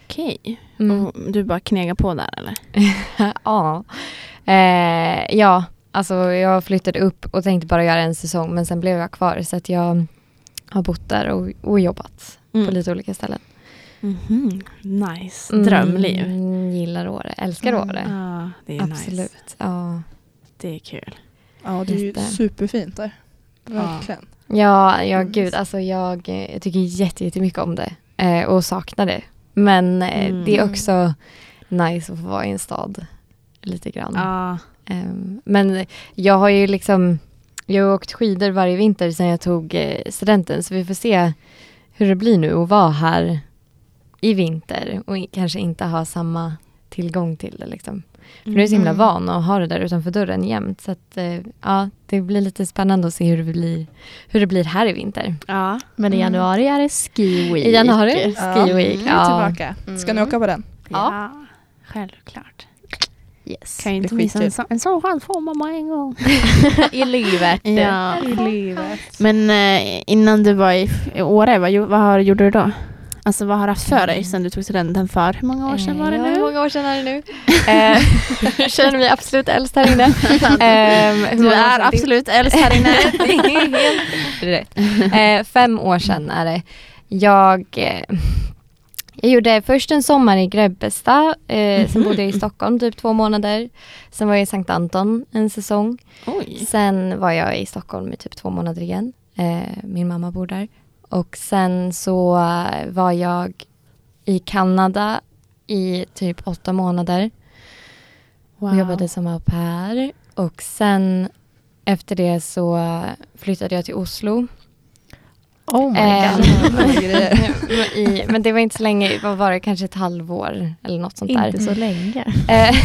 Okej. Mm. Och Du bara knegar på där eller? [laughs] ja. Eh, ja, alltså jag flyttade upp och tänkte bara göra en säsong men sen blev jag kvar så att jag har bott där och, och jobbat på lite olika ställen. Mhm. Mm. Nice. Drömliv. Mm, gillar Åre, älskar Mm. Åre. Ja, det är Absolut. nice. Ja. Det är kul. Ja, det är ju Just det. superfint där. Verkligen. Ja, ja Mm. gud, alltså jag, eh, jag tycker jätte- jättemycket om det eh, och saknar det. Men eh, Mm. det är också nice att få vara i en stad lite grann. Ja. Ehm, Men jag har ju liksom, jag har åkt skidor varje vinter sedan jag tog eh, studenten så vi får se hur det blir nu att vara här i vinter och i- kanske inte ha samma tillgång till det liksom. För nu är jag så himla Mm. van att ha det där utanför dörren jämt så att eh, ja, det blir lite spännande att se hur det blir, hur det blir här i vinter. Ja. Men Mm. i januari är det ski week. I januari, ski week. Mm, Vi är Ja. Mm, tillbaka. Mm. Ska ni åka på den? Ja. Självklart. Yes. Kan ju Det inte är missa en skitkul. sån, en sån chans får man bara en gång. [laughs] I livet. Ja. I livet. Men eh, innan du var i, F- i Åre, vad, gjo- vad har, gjorde du då? Alltså vad har du haft för dig sedan du tog studenten för? Hur många år sedan var det Ja, nu? [laughs] Hur många år sedan är det nu? Eh, [laughs] Jag känner mig absolut äldst här inne. Ehm, hur Eh, Du många år sedan är det- absolut äldst här inne. [laughs] det [laughs] är helt rätt. Eh, fem år sedan är det. Jag, eh, jag gjorde först en sommar i Grebbestad. Eh, [laughs] sen bodde jag i Stockholm typ två månader. Sen var jag i Sankt Anton en säsong. Oj. Sen var jag i Stockholm i typ två månader igen. Eh, min mamma bor där. Och sen så eh, var jag i Kanada i typ åtta månader. Wow. Och jobbade som au pair. Och sen efter det så flyttade jag till Oslo. Oh my Eh, god. [laughs] [laughs] i, men det var inte så länge, vad var det, kanske ett halvår eller något sånt där. Inte så länge. [laughs] Eh,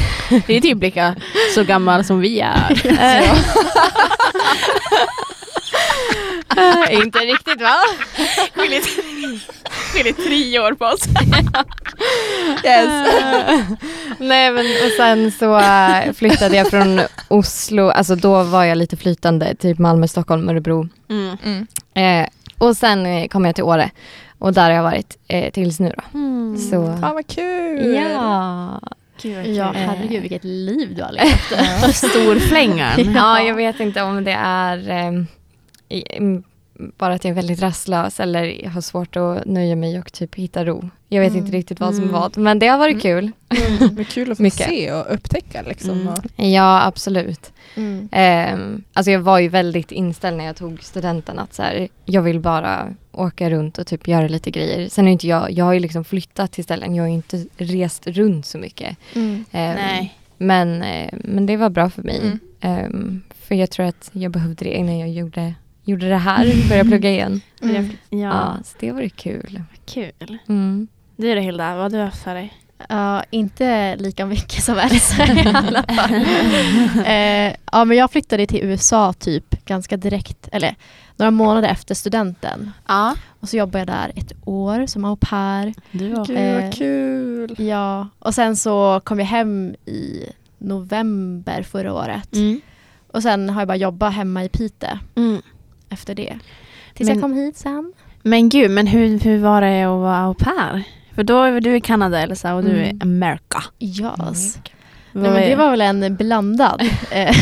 Det är typ lika så gammal som vi [laughs] är. [laughs] eh, inte riktigt va? Skiljer skiljer tre år på oss. Yes. [laughs] Nej men och sen så eh, flyttade jag från Oslo, alltså då var jag lite flytande, typ Malmö, Stockholm, Örebro. Mm. Mm. Eh, och sen eh, kom jag till Åre och där har jag varit eh, tills nu då. Mm. Så Fan vad kul. ja, Gud, Ja, Eh. herregud vilket liv du har levt. [laughs] Storflängaren. Ja, jag vet inte om det är ehm, i- m- bara att jag är väldigt rastlös eller har svårt att nöja mig och typ hitta ro. Jag vet Mm. inte riktigt vad som Mm. vad, men det har varit kul. Men Mm, kul att få Mycket. se och upptäcka liksom. Mm. Och, Ja, absolut. Ehm, alltså jag var ju väldigt inställd när jag tog studenten att så här, jag vill bara åka runt och typ göra lite grejer. Sen är ju inte jag, jag har ju liksom flyttat till ställen, jag har ju inte rest runt så mycket. Eh, Mm. Ehm, Nej. Men, eh, men det var bra för mig. Mm. Ehm, för jag tror att jag behövde det innan jag gjorde, gjorde det här, började plugga igen. Mm. Ja, Ja, så det var ju kul. kul. Mm. Du då Hilda, vad har du haft för dig? Ja, inte lika mycket som Elsa [laughs] i alla fall. eh, ja, men jag flyttade till USA typ ganska direkt, eller några månader efter studenten. Ja. Och så jobbade jag där ett år som au pair. Du har... Gud Eh. vad kul. Ja, och sen så kom jag hem i november förra året. Mm. Och sen har jag bara jobbat hemma i Piteå Mm. efter det. Tills Men- jag kom hit sen. Men gud, men hur, hur var det att vara au pair? För då är du i Kanada Elsa och du är i Mm. America. Yes. Nej, Vad men är- det var väl en blandad eh,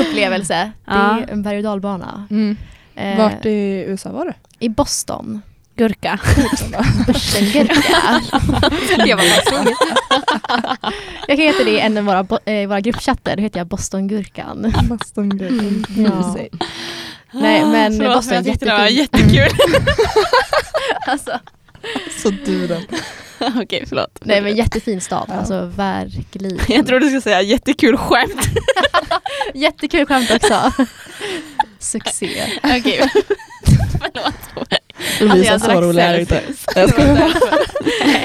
upplevelse. Ja. Det är en berg och dalbana. Mm. Eh, Vart i USA var du? I Boston. Gurka. Börsengurka. jag var jag heter det i en av våra, bo- eh, våra gruppchatter. Då heter jag Bostongurkan. Bostongurkan. Ja. Mm. Mysigt. Ah, Nej, men Boston är jättefint. jättekul. Alltså, Så du den. [laughs] Okej, förlåt. nej, men jättefin stad. Ja. Alltså [laughs] verkligen. du skulle säga jättekul skämt. Jättekul skämt också. Succé. [laughs] Okej. Lovisa, jag så drack rolig är du inte. [laughs] Jag skojar.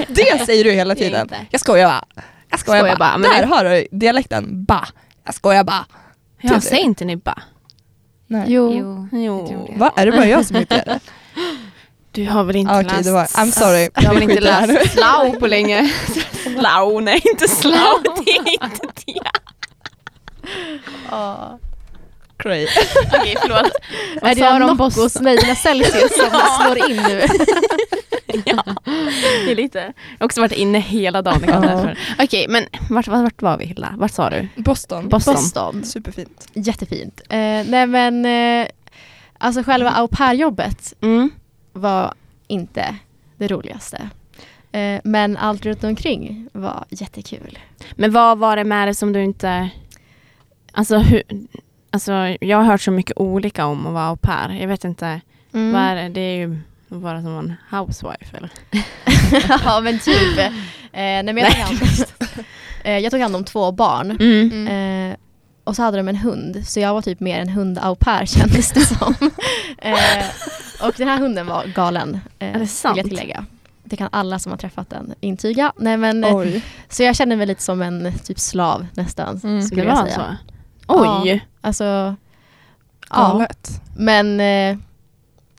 Det säger du hela Jag är tiden. inte. Jag skojar bara. Jag skojar, Skojar bara. bara, men Där det- har du dialekten. Ba. Jag skojar bara. Jag säger inte nibba. Nej. Jo. Jag tror det. Va? Är det bara jag som inte gör det? Du har väl inte Ah, Okej, läst... det var, I'm sorry. [laughs] Jag har väl inte Skit i det här. läst Slow på länge. Slow, nej inte Slow. Det är inte det. Oh. Cray. [laughs] Okej, förlåt. Är Vad det sa de om Noccos? Nej, dina Celsius som slår in nu. Det är lite. Jag har också varit inne hela dagen. det kan Ja. jag därför. Okej, men vart, vart, vart var vi Hilda? Vart sa du? Boston. Boston. Boston. Superfint. Jättefint. Eh, nej men, eh, alltså själva au pair-jobbet Mm. var inte det roligaste. Eh, men allt runt omkring var jättekul. Men vad var det med det som du inte... Alltså, hur... alltså jag har hört så mycket olika om att vara au pair. Jag vet inte. Vad [laughs] är det? det är ju bara som en housewife eller? ja men typ. Eh, nej, men jag, tog hand, [laughs] eh, jag tog hand om två barn. Mm. Eh, och så hade de en hund, så jag var typ mer en hund-au pair kändes [laughs] det som. eh, och den här hunden var galen, eh, det sant? vill jag tillägga. Det kan alla som har träffat den intyga. Nej, men, eh, Oj. Så jag känner mig lite som en typ slav nästan. Mm. Skulle Det jag var säga. så? Oj! Alltså, ja. Galet. Men eh,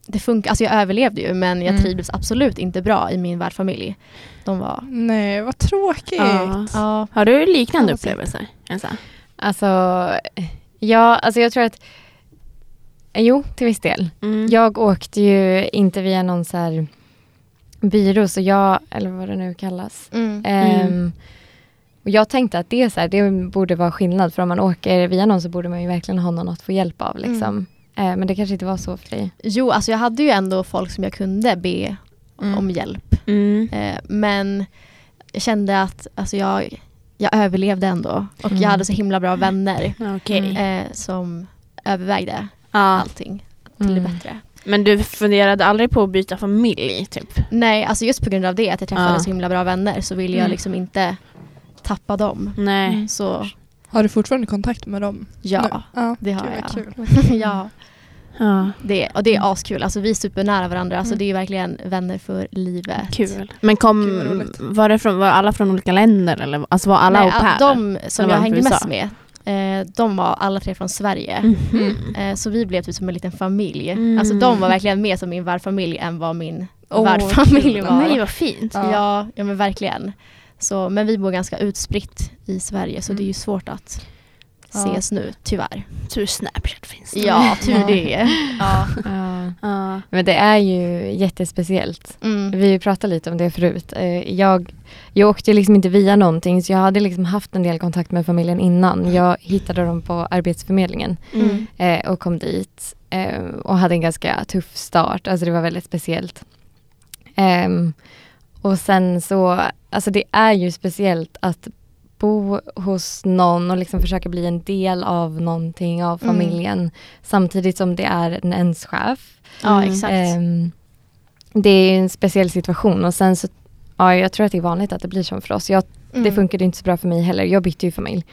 det funkar. Alltså jag överlevde ju men jag Mm. trivdes absolut inte bra i min värdfamilj. De var... Nej, vad tråkigt. Ja. Ja. Har du liknande Housewife. upplevelser? Elsa? Alltså, ja, alltså jag tror att, jo till viss del. Mm. Jag åkte ju inte via någon så här byrå, så jag, eller vad det nu kallas. Mm. Ehm, och jag tänkte att det, är så här, det borde vara skillnad för om man åker via någon så borde man ju verkligen ha någon att få hjälp av. Liksom. Mm. Ehm, men det kanske inte var så för [laughs] dig. Jo, alltså jag hade ju ändå folk som jag kunde be Mm. om hjälp. Mm. Eh, men jag kände att alltså jag, jag överlevde ändå. Och Mm. jag hade så himla bra vänner Okej. Mm. eh, som övervägde Ja. allting till det Mm. bättre. Men du funderade aldrig på att byta familj? Typ. Nej, alltså just på grund av det, att jag träffade Ja. så himla bra vänner så ville jag Mm. liksom inte tappa dem. Nej. Så Har du fortfarande kontakt med dem? ja, Nu? ja. det har Gud, vad jag. kul. [laughs] ja, Ja. det, och det är askul. Alltså vi är supernära varandra. Alltså Mm. det är verkligen vänner för livet. Kul. Men kom, Kul, vad roligt. var, det från, var alla från olika länder? Eller? Alltså var alla Nej, au pair? De som Eller jag var de hängde från mest USA? med, eh, de var alla tre från Sverige. Mhm. Eh, Så vi blev typ som en liten familj. Mm. Alltså de var verkligen mer som min värdfamilj än vad min Åh, värdfamilj kul. var. Nej, vad fint. Ja. Ja, ja men verkligen. Så, men vi bor ganska utspritt i Sverige så Mm. det är ju svårt att Ja. ses nu, tyvärr. Tur Snapchat finns. [laughs] Ja, tur det. Ja. Ja. Ja. Men det är ju jättespeciellt. Mm. Vi pratade lite om det förut. Eh, Jag, jag åkte liksom inte via någonting så jag hade liksom haft en del kontakt med familjen innan. Jag hittade dem på Arbetsförmedlingen Mm. eh, och kom dit eh, och hade en ganska tuff start. Alltså det var väldigt speciellt. Ehm, och sen så, alltså det är ju speciellt att bo hos någon och liksom försöka bli en del av någonting, av Mm. familjen. Samtidigt som det är en ens chef. ja, Mm. exakt. Ehm, det är ju en speciell situation och sen så, ja jag tror att det är vanligt att det blir som för oss. Jag, Det Mm. funkade inte så bra för mig heller, jag bytte ju familj.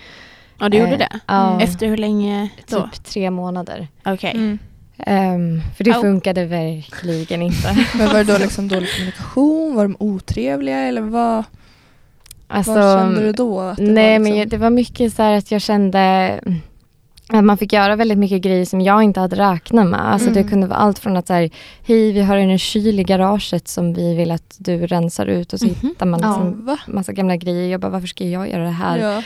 Ja, du gjorde Eh, det? Ja, Efter hur länge då? typ tre månader. Okej. Mm. Ehm, för det Au. funkade verkligen inte. Men [laughs] var det då liksom dålig kommunikation? Var de otrevliga eller vad, Alltså, vad kände du då? Att det nej var liksom- men jag- det var mycket så här att jag kände mm, att man fick göra väldigt mycket grejer som jag inte hade räknat med. Alltså Mm. det kunde vara allt från att så här, hej vi har en kyl i garaget som vi vill att du rensar ut och så Mhm. hittar man Ja. liksom va? massa gamla grejer. Jag bara, varför ska jag göra det här? Ja.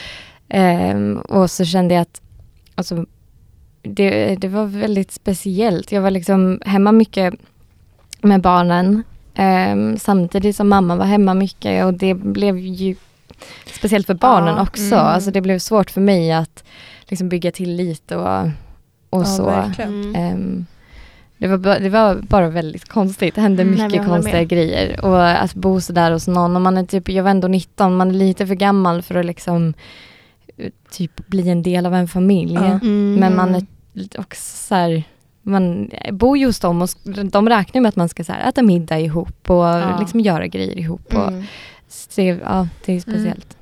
Ehm, och så kände jag att alltså, det, det var väldigt speciellt. Jag var liksom hemma mycket med barnen ehm, samtidigt som mamma var hemma mycket och det blev ju speciellt för barnen Ja, också. mm. Alltså det blev svårt för mig att liksom bygga tillit och, och ja, så. verkligen. Mm. Ehm, det var, ba- det var bara väldigt konstigt. Det hände Mm. mycket Nej, men jag håller konstiga med. grejer. Och att bo sådär hos någon. Och man är typ, jag var ändå 19, man är lite för gammal för att liksom eh, typ bli en del av en familj. Ja. Mm. Men man är lite också så här, man eh, bor ju hos dem och sk- de räknar med att man ska så här, äta middag ihop och Ja. liksom göra grejer ihop. Och Mm. se, ja, det är speciellt.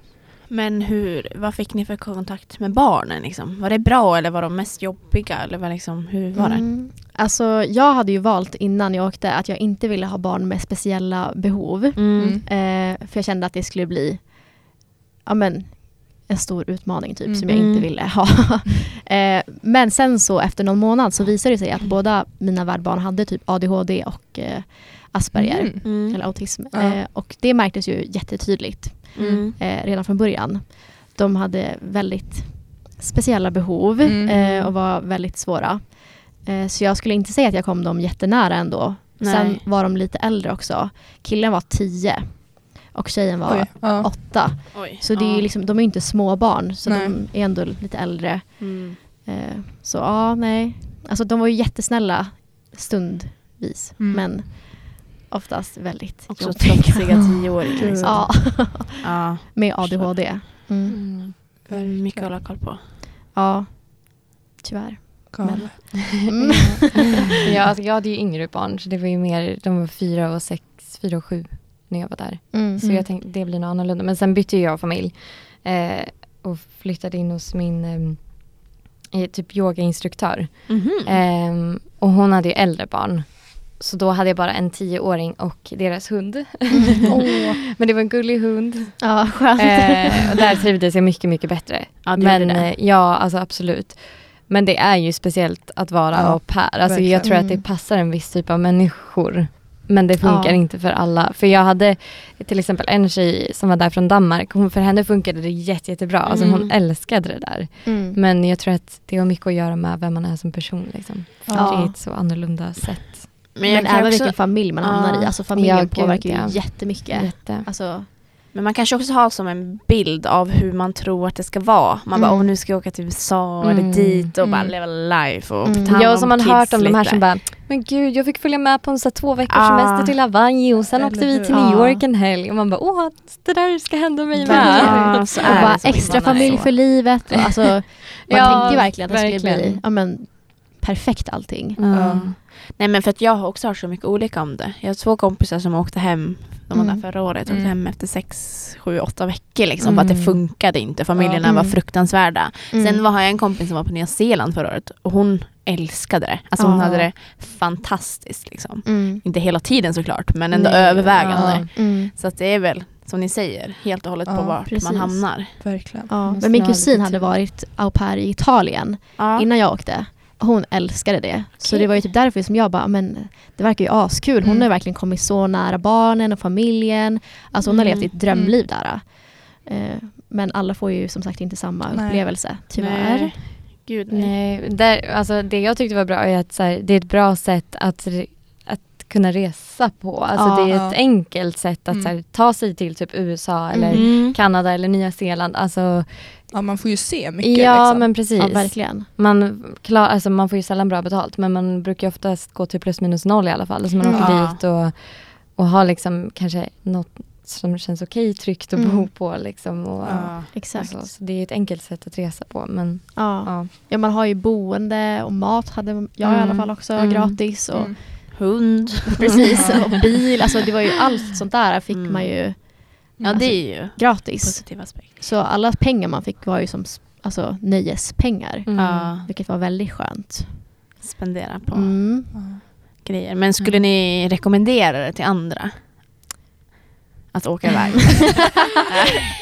Men hur, vad fick ni för kontakt med barnen? Liksom? Var det bra eller var de mest jobbiga? Eller var liksom, hur var det? Mm. Alltså, jag hade ju valt innan jag åkte att jag inte ville ha barn med speciella behov. Mm. Eh, för jag kände att det skulle bli ja, men, en stor utmaning typ, som jag Mm. inte ville ha. [laughs] eh, men sen så efter någon månad så visade det sig att båda mina värdbarn hade typ ADHD och eh, Asperger. Mm. Mm. Eller autism. Ja. Eh, och det märktes ju jättetydligt Mm. eh, redan från början. De hade väldigt speciella behov Mm. eh, och var väldigt svåra. Eh, så jag skulle inte säga att jag kom dem jättenära ändå. Nej. Sen var de lite äldre också. Killen var tio och tjejen var Oj, ja. åtta. Oj. Så det är ju liksom, de är ju inte småbarn så Nej. de är ändå lite äldre. Mm. Eh, så ja, nej. Alltså de var ju jättesnälla stundvis Mm. men oftast väldigt Också jobbiga. trotsiga tioåringar. Liksom. Ja, Ja. med ADHD. Mm. Mm. Verkligen. Mycket att hålla koll på. Ja, tyvärr. Galet. Mm. Ja, alltså, jag hade ju yngre barn så det var ju mer, de var fyra och sex, fyra och sju när jag var där. Mm. Så jag tänkte det blir nog annorlunda. Men sen bytte ju jag familj eh, och flyttade in hos min eh, eh, typ yogainstruktör. Mm. Eh, och hon hade ju äldre barn. Så då hade jag bara en tioåring och deras hund. [laughs] Åh. Men det var en gullig hund. Ja, skönt. Eh, och där trivdes jag mycket, mycket bättre. Ja, det Men gjorde det. eh, ja, alltså absolut. Men det är ju speciellt att vara Ja, au pair. Alltså, verkligen. jag tror att det Mm. passar en viss typ av människor. Men det funkar Ja. inte för alla. För jag hade till exempel en tjej som var där från Danmark. Hon, för henne funkade det jätte, jättebra. Alltså, Mm. Hon älskade det där. Mm. Men jag tror att det har mycket att göra med vem man är som person. Liksom. För Ja. Det är ett så annorlunda sätt. Men, Men, jag kan även också, vilken familj man Ja. hamnar i. Alltså familjen Ja, gud, påverkar ju ja. jättemycket. Jätte. Alltså, men man kanske också har som en bild av hur man tror att det ska vara. Man bara, Mm. åh nu ska jag åka till USA Mm. eller dit och bara Mm. leva life och Mm. ta hand Ja, och som man kids hört om de här lite. som bara, men gud jag fick följa med på en så här två veckors Ah. semester till Hawaii och sen Eller åkte hur? vi till Ja. New York en helg och man bara, åh det där ska hända mig med. Ja, så och är bara det som extra invandrare. familj för livet. Och [laughs] Alltså, man Ja, tänkte ju verkligen att det skulle verkligen. bli ja, men, perfekt allting. Ja. Nej men för att jag har också hört så mycket olika om det. Jag har två kompisar som åkte hem, de var Mm. där förra året, åkte Mm. hem efter sex, sju, åtta veckor liksom för att det Mm. funkade inte. Familjerna Ja. var Mm. fruktansvärda. Mm. Sen var, har jag en kompis som var på Nya Zeeland förra året och hon älskade det. Alltså hon Ja. hade det fantastiskt liksom. Mm. Inte hela tiden såklart, men ändå Nej. övervägande. Ja. Mm. Så att det är väl, som ni säger, helt och hållet Ja, på vart man precis. hamnar. Verkligen. Ja. Måste Men min ha lite kusin hade tid. varit au pair i Italien Ja. innan jag åkte. Hon älskade det. Så Okej. det var ju typ därför som jag bara, men det verkar ju askul. Hon Mm. har verkligen kommit så nära barnen och familjen. Alltså hon har Mm. levt ett drömliv där. Eh, Men alla får ju som sagt inte samma Nej. upplevelse tyvärr. Nej. Gud nej. Nej, där, alltså, det jag tyckte var bra är att så här, det är ett bra sätt att, re- att kunna resa på. Alltså, Ja. det är ett Ja. enkelt sätt att Mm. så här, ta sig till typ USA eller Mm. Kanada eller Nya Zeeland. Alltså, Ja, man får ju se mycket. ja liksom. men precis. Ja, verkligen. man, klar, alltså, man får ju sällan bra betalt men man brukar ju oftast gå till plus minus noll i alla fall. Så man Mm. åker Ja. dit och, och har liksom kanske något som känns okej tryggt att bo Mm. på. Liksom, och, Ja. och Exakt. så. så det är ett enkelt sätt att resa på. Men, Ja. ja. ja, man har ju boende och mat hade jag i alla Mm. fall också Mm. gratis. Och, Mm. [laughs] Hund. [laughs] Precis, Ja. och bil. Alltså det var ju allt sånt där fick Mm. man ju Ja det är ju gratis. positiv aspekt. Så alla pengar man fick var ju som s- alltså, nöjespengar. Mm. Ja, Vilket var väldigt skönt. spendera på Mm. Ja. grejer. Men skulle ni rekommendera det till andra? Att åka [laughs] iväg?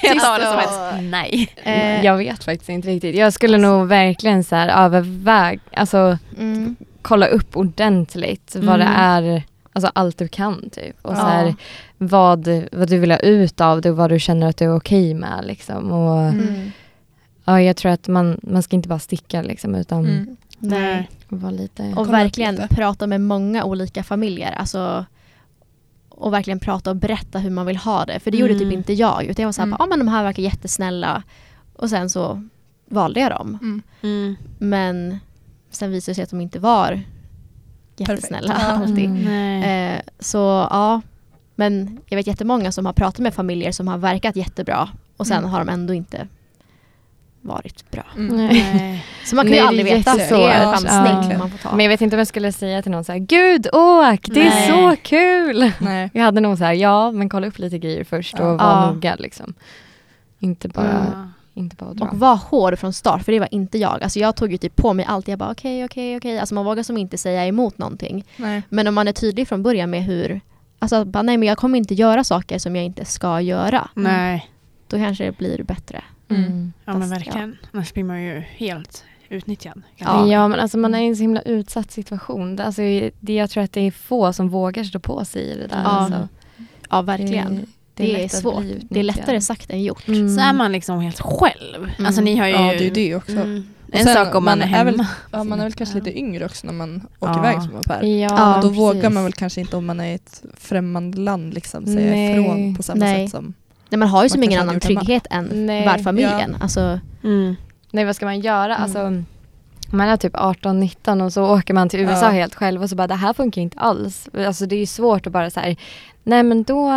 Jag tar det som ett nej. Eh, Mm. Jag vet faktiskt inte riktigt. Jag skulle nog verkligen så här överväg, alltså Mm. kolla upp ordentligt vad det Mm. är, alltså allt du kan typ. Och så Ja. här, vad, vad du vill ha ut av det och vad du känner att du är okej med liksom. Och, Mm. ja, jag tror att man, man ska inte bara sticka liksom utan Mm. Nej. vara lite... Och Kolla upp verkligen lite. prata med många olika familjer. Alltså, och verkligen prata och berätta hur man vill ha det. För det gjorde Mm. typ inte jag. Utan jag var såhär, Mm. mm. men de här verkar jättesnälla. Och sen så valde jag dem. Mm. Mm. Men sen visade det sig att de inte var jättesnälla Perfekt. Ja. alltid. Mm. Nej. Eh, så ja, men jag vet jättemånga som har pratat med familjer som har verkat jättebra och sen Mm. har de ändå inte varit bra. Mm. [laughs] Eh. Nej. Så man kan Nej, ju det är aldrig veta. Det jättesvårt. är en Ja, chansning verkligen. man får ta. Men jag vet inte om jag skulle säga till någon så här, gud åk, det Nej. är så kul! Nej. Jag hade nog så här, ja men kolla upp lite grejer först och Ja. var Ja. noga liksom. Inte bara, Ja. inte bara dra. Och var hård från start, för det var inte jag. Alltså jag tog ju typ på mig allt. Jag bara okej, okej, okej. Alltså man vågar som inte säga emot någonting. Nej. Men om man är tydlig från början med hur... Alltså att bara, nej men jag kommer inte göra saker som jag inte ska göra. nej. Då kanske det blir bättre. Mm. Mm. Mm. Ja men Fast, ja. verkligen. Annars blir man ju helt utnyttjad. Ja. Ja. men alltså man är i en så himla utsatt situation. Alltså, det, jag tror att det är få som vågar stå på sig i det där. Ja, alltså. Ja, verkligen. Det, är, lätt att svårt. bli Det är utnyttjad. lättare sagt än gjort. Mm. Så är man liksom helt själv. Mm. Alltså ni har ju... Ja, det är ju det också. Mm. Och En sen, sak om man, är hemma. väl, ja, man är väl kanske lite yngre också när man åker Ja. iväg som au pair. Ja, Ja, då precis. vågar man väl kanske inte om man är i ett främmande land liksom säga Nej. ifrån på samma Nej. sätt som... Nej, man har ju som Man ingen kanske annan hade gjort trygghet än Nej. värdfamiljen. Alltså, Mm. Nej, vad ska man göra? Mm. Alltså, man är typ 18-19 och så åker man till USA Ja. helt själv och så bara det här funkar ju inte alls. Alltså det är ju svårt att bara så här, nej men då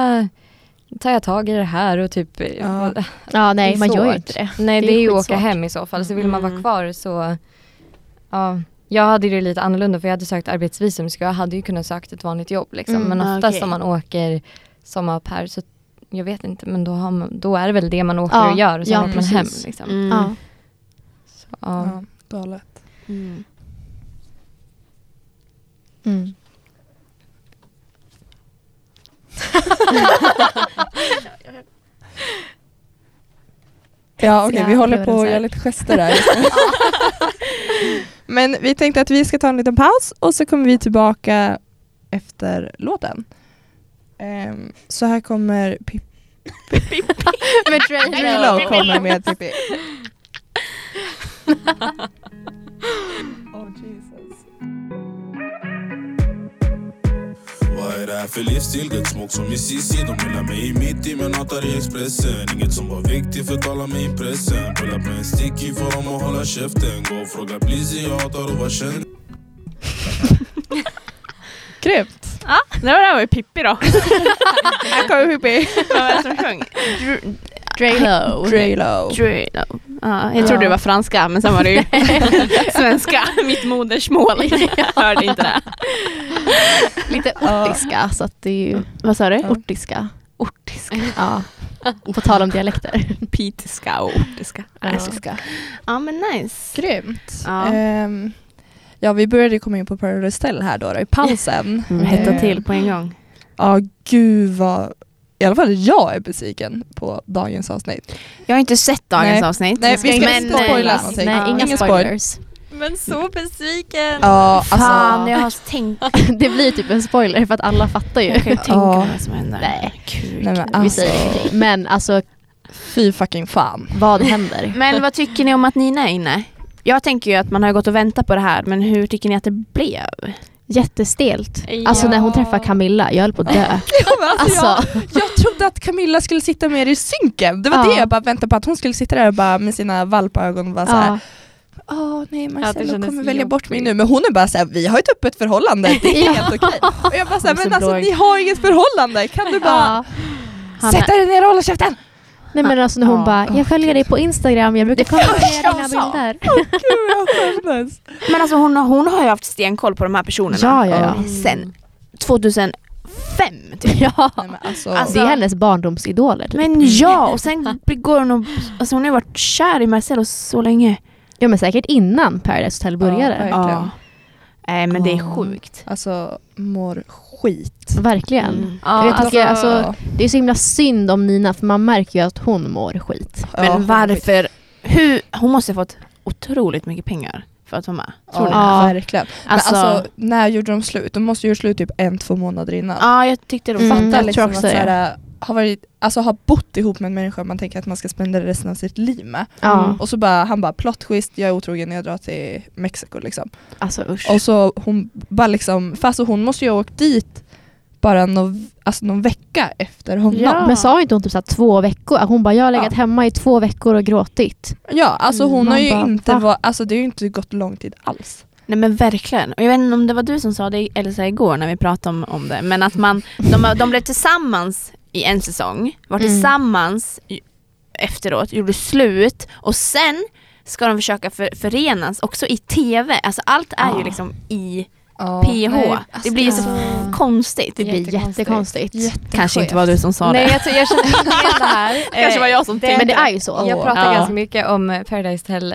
tar jag tag i det här och typ... Ja. ja, [laughs] Det nej, är man gör ju svårt. inte det. Nej Det det, är är ju att åka skitsvårt. hem i så fall. Så vill man vara Mm. kvar så... Ja, jag hade det lite annorlunda för jag hade sökt arbetsvisum så jag hade ju kunnat sökt ett vanligt jobb. Liksom. Mm, men ah, oftast okej. om man åker som au pair så jag vet inte men då, har man, då är det väl det man åker Ja, och gör och sen ja, åker precis. man hem. Liksom. Mm. Ja. Så, ja. Ja, galet. Mm. Mm. Ja okej, Ja, vi håller luren på att så här. göra lite gester [laughs] där. just nu. Men vi tänkte att vi ska ta en liten paus och så kommer vi tillbaka efter låten. Ehm, så här kommer Pippi. [laughs] Med Dre Milo kommer med [laughs] Pippi. oh, Jesus. Vad är det här för livsstil? Det smak som i CC De hyllar mig i mitt i men hatar i Expressen Inget som var viktigt förtalar mig i pressen Pullar på en sticky får dem att hålla käften Gå och fråga Blizzy, jag hatar att vara känd [laughs] Grymt! Det var det var ju Pippi [laughs] då. Här kommer Pippi. Vad var det som sjöng? Dr- Drelo. Drelo. Dr- ja, jag trodde det var franska men sen var det ju svenska, mitt [laughs] modersmål. Jag hörde inte det. Lite ortiska, så att det är ju Vad sa du? ortiska. Ortiska. Ja. På tal om dialekter. Pitiska och ortiska. Alltså. Ortiska. Ja men nice. Grymt. Ja. Ehm, ja, vi började ju komma in på Paradise Hotel här då, då i pausen. Hetta Ehm, Mm. till på en gång. Ja, gud vad... I alla fall jag är besviken på dagens avsnitt. Jag har inte sett dagens Nej. avsnitt. Nej, vi ska Men, inte spoila eh, någonting. Nej, inga Ingen spoil. spoilers. [laughs] Men så besviken! Mm. Ja, alltså, Fan, jag har tänkt. Det blir typ en spoiler för att alla fattar ju. [laughs] Jag kan ju tänka Ja. mig vad som händer. Nej. ah. Kul. Nej, men kul. alltså. Vi säger ingenting. Men alltså, fy fucking [laughs] fan. Vad händer? Men vad tycker ni om att Nina är inne? Jag tänker ju att man har gått och väntat på det här, men hur tycker ni att det blev? Jättestelt. Alltså när hon träffar Camilla, jag höll på att dö. alltså, jag, Alltså, jag trodde att Camilla skulle sitta med i synken. Det var Ja. det jag bara väntade på, att hon skulle sitta där och bara med sina valpögon och bara såhär ja. Åh nej Marcello kändes kommer välja bort mig nu. Men hon är bara såhär, vi har ett öppet förhållande, det är Ja. helt okej. Och jag bara såhär, Hon är men så alltså blåg. ni har inget förhållande, kan du bara Ja. Han är- sätta dig ner och hålla käften? Nej men alltså när hon Ja. bara, jag följer dig på Instagram, jag brukar kommentera dina bilder. Men alltså hon, hon har ju haft stenkoll på de här personerna. Mm. Ja, ja, Mm. ja. Sen 2005 typ. Ja. Nej, men alltså, Det är hennes barndomsidoler. Typ. Men ja, och sen går hon och... Alltså hon har ju varit kär i Marcello så länge. Ja men säkert innan Paradise Hotel började. Ja, verkligen. Nej men det är Ja. sjukt. alltså mår skit. Verkligen. Ja, Jag vet alltså, inte, alltså, det är så himla synd om Nina för man märker ju att hon mår skit. men ja, hon- varför? Hur, hon måste ha fått otroligt mycket pengar för att vara med. Tror ni? Ja, Ja. verkligen. Alltså- men alltså, när gjorde de slut? De måste ju gjort slut typ en, två månader innan. Ja, jag tyckte det var Mm. Fatta jag liksom tror också att det. såhär, ha, varit, alltså, ha bott ihop med en människa man tänker att man ska spendera resten av sitt liv med. Ja. Och så bara, han bara plot twist, jag är otrogen när jag drar till Mexiko liksom. Alltså usch. Och så hon bara liksom, fast hon måste ju ha åkt dit bara någon, alltså någon vecka efter honom. Ja, Men sa inte hon typ så här två veckor? Hon bara, jag har legat Ja. hemma i två veckor och gråtit. alltså Mm, hon man har ju bara, inte va? va? alltså det har ju inte gått lång tid alls. Nej men verkligen. Och jag vet inte om det var du som sa det Elsa igår när vi pratade om, om det. Men att man, de, de blev tillsammans i en säsong, var Mm. tillsammans i- efteråt, gjorde slut och sen ska de försöka för, förenas också i TV. Alltså allt är ju Ja. liksom i Ja. PH. nej, det blir ju så alltså- konstigt. Det blir Jättekonstigt. jättekonstigt. Kanske inte var du som sa Nej det. jag, tror- jag känner inte igen [laughs] det här. Kanske var jag som tänkte. Men Eh, det är ju så. [laughs] Jag pratar Ja. ganska mycket om Paradise Hotel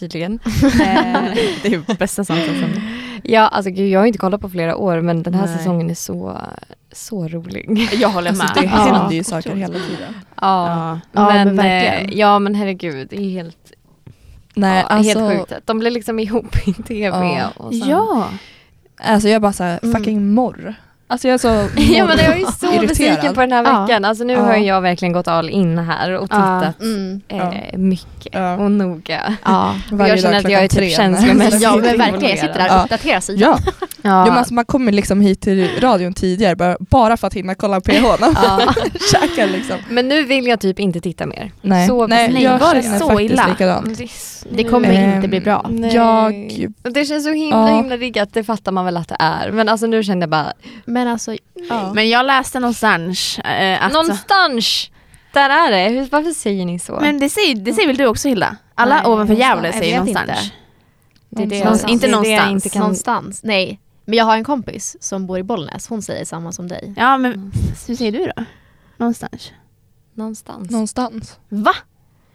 tydligen. Eh, [laughs] det är ju bästa samtalet som... ja alltså gud jag har inte kollat på flera år men den här Nej. säsongen är så, så rolig. Jag håller med. Alltså det Ja. händer ju saker hela tiden. Ja. Ja, men eh, verkligen. ja men herregud det är helt, Nej, ja, alltså, helt sjukt. att De blir liksom ihop i TV. Ja. Och sen, Ja. Alltså jag bara såhär, Mm. fucking morr. Alltså jag är så [laughs] ja men jag är ju så Irriterad. besviken på den här Ja. veckan. Alltså nu Ja. har jag verkligen gått all in här och Ja. tittat Mm. eh, mycket Ja. och noga. Ja. Varje jag känner dag att jag är klockan typ tre när- känslomässigt ja men verkligen, Alltså, jag involverad. sitter [laughs] där Ja. och uppdaterar sig. Ja, Ja. Jo, men alltså, man kommer liksom hit till radion tidigare bara, bara för att hinna kolla PH när man [laughs] käkar liksom. Men nu vill jag typ inte titta mer. Nej, Så Nej besviken. jag var det känner så faktiskt illa? likadant. Det kommer Ehm, inte bli bra. Nej. Jag- Och Det känns så himla Ja. himla riggat, det fattar man väl att det är. Men alltså nu kände jag bara, Men alltså, Ja. Men jag läste någonstans eh, att... någonstans! Där är det, Hur, varför säger ni så? Men det säger, det säger väl du också Hilda? Alla Nej, ovanför Gävle någonstans. säger Jag vet någonstans. inte. det är det jag- någonstans. Inte det är det jag någonstans. inte kan- någonstans. Nej. Men jag har en kompis som bor i Bollnäs, hon säger samma som dig. Ja men hur säger du då? Någonstans. Någonstans. Någonstans. Va?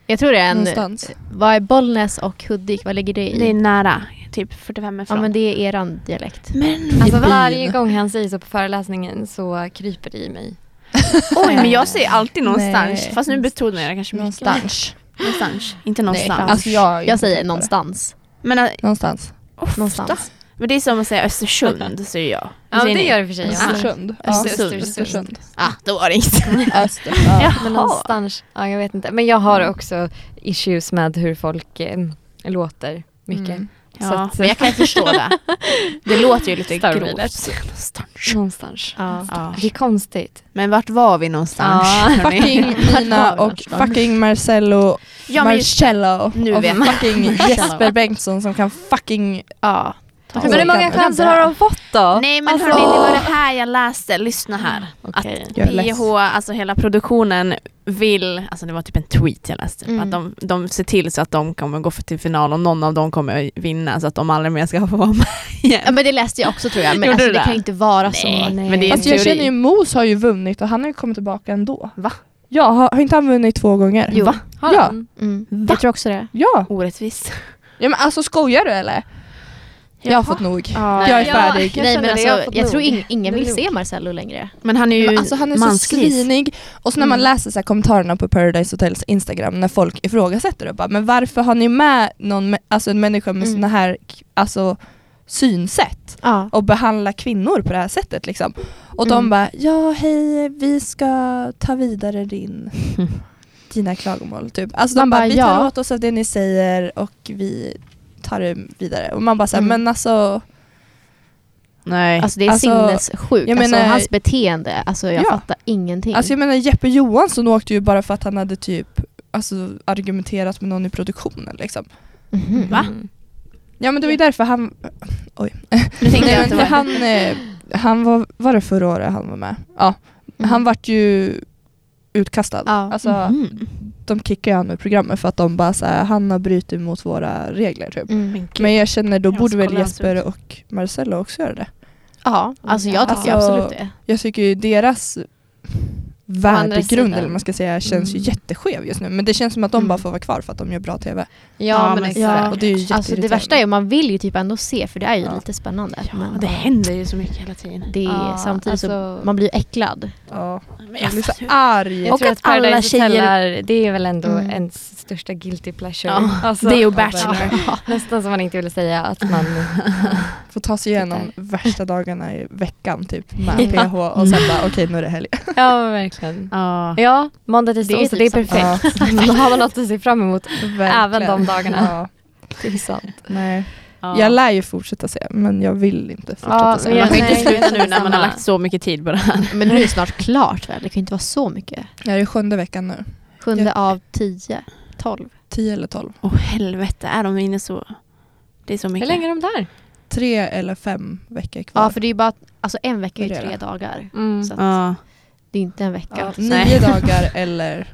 Jag tror det är en... Någonstans. Vad är Bollnäs och Hudik, vad ligger det i? Det är nära, typ 45 ja ifrån. men det är eran dialekt. [laughs] men Alltså byn. varje gång han säger så på föreläsningen så kryper det i mig. oj, men jag säger alltid någonstans. Nej. Fast nu betonar jag det kanske mycket. [laughs] Någonstans. någonstans. Inte någonstans. Nej, Alltså, jag, Jag säger någonstans. men, äh, Någonstans. ofta. Någonstans. men det är som att säga Östersund, säger jag. Ja säger det ni? gör det för sig. Ja. Östersund. Ja. Östersund. Mm. Östersund. Ah, då var det [laughs] inget. Östersund. Ja. Men någonstans, ja jag vet inte. Men jag har också issues med hur folk eh, låter mycket. Mm. Så Ja, att- men jag kan ju förstå det. Det låter ju lite Stormvilet. grovt. Någonstans. Någonstans. Ja. Ja. Det är konstigt. Men vart var vi någonstans? Ja. hörni? Fucking [laughs] Nina och fucking Marcello, Ja, men just- Marcello Nu och vet man. fucking Jesper Bengtsson som kan fucking... Ja. Men hur många chanser har de fått då? Nej men hörni, det var det här jag läste. Lyssna här. Okej. Att Jag är less. PH, alltså hela produktionen vill, alltså det var typ en tweet jag läste, Mm. att de, de ser till så att de kommer gå för till final och någon av dem kommer vinna så att de aldrig mer ska få vara med igen. Ja, men det läste jag också tror jag. Men Gjorde alltså, du det det? kan ju inte vara Nej, men så. det är Fast en Alltså, jag teori. känner ju Mos har ju vunnit och han har ju kommit tillbaka ändå. Va? Ja, har, har inte han vunnit två gånger? Jo. Har Ja. de? Mm. Jag tror också det. Ja. Orättvist. ja men alltså skojar du eller? Jag har fått nog. Ja. Jag är Ja. färdig. Jag Nej känner men det, alltså, jag har jag, fått nog. tror ing- ingen Det är vill lugnt. se Marcello längre. Men han är ju Men alltså han är så mansgris. svinig. Och så när man läser så här kommentarerna på Paradise Hotels Instagram när folk ifrågasätter det bara, men varför har ni med någon, med- alltså en människa med Mm. såna här alltså, synsätt? Ja. och behandla kvinnor på det här sättet. Liksom. Och Mm. de bara, ja hej vi ska ta vidare din dina klagomål. Typ. Alltså de Man bara, bara, vi tar ja. åt oss av det ni säger och vi tar det vidare. Och man bara såhär, Mm. men alltså, Nej. Alltså det är Alltså, sinnessjukt. jag alltså, menar- hans beteende, alltså jag Ja. fattar ingenting. alltså jag menar Jeppe Johansson åkte ju bara för att han hade typ alltså, argumenterat med någon i produktionen liksom. Mhm. Va? Mm. Ja men det var ju därför han, oj. nu tänkte jag Nej, att det men var... han, eh, han var, var det förra året han var med? Ja. Mhm. Han vart ju utkastad. Mm. Ja. Alltså, Mhm. De kickade ju han ur programmet för att de bara såhär, han har brutit mot våra regler typ. Mm. Men gud. Men jag känner då Jag borde ska väl kolla hans Jesper och Marcello också göra det. Ja, alltså jag tycker Alltså, absolut det. Jag tycker ju deras värdegrund sidan. eller vad man ska säga känns ju Mm. jätteskev just nu men det känns som att de Mm. bara får vara kvar för att de gör bra TV. Ja, men exakt. Ja. Och det är ju Alltså det värsta är ju, man vill ju typ ändå se för det är ju Ja. lite spännande. Ja, men det händer ju så mycket hela tiden. det är Ja, samtidigt alltså- så man blir äcklad. Ja. Men Jag jag blir så fattar ju. arg. Jag Och tror att att Paradise alla tjejer- Hotel är, det är väl ändå Mm. ens största guilty pleasure. Ja, Alltså, det är ju av Bachelor. alla. [laughs] Nästan som man inte ville säga att man... Får ta sig igenom värsta dagarna i veckan typ med PH och sen bara okej nu är det helg. [laughs] ja, men verkligen. Ja. Ja, måndag, Det tisdag, är onsdag, det typ är perfekt. [laughs] Då har man något att se fram emot Typ även de dagarna. Ja, Det är sant. nej. Jag lär ju fortsätta se men jag vill inte fortsätta Ja, se. Men man kan Nej, inte sluta jag nu känner när man har samma. lagt så mycket tid på det här. Men nu är det snart klart väl? Det kan ju inte vara så mycket. Jag är i sjunde veckan nu. Sjunde Ja. av tio, tolv. 10 eller 12. Åh helvete, är de inne så... Det är så Hur mycket. länge är de där? Tre eller fem veckor kvar. Ja för det är ju bara, alltså en vecka är ju Det är tre det. dagar. Mm. Så att Ja. det är inte en vecka. Ja, Nej. nio [laughs] dagar eller...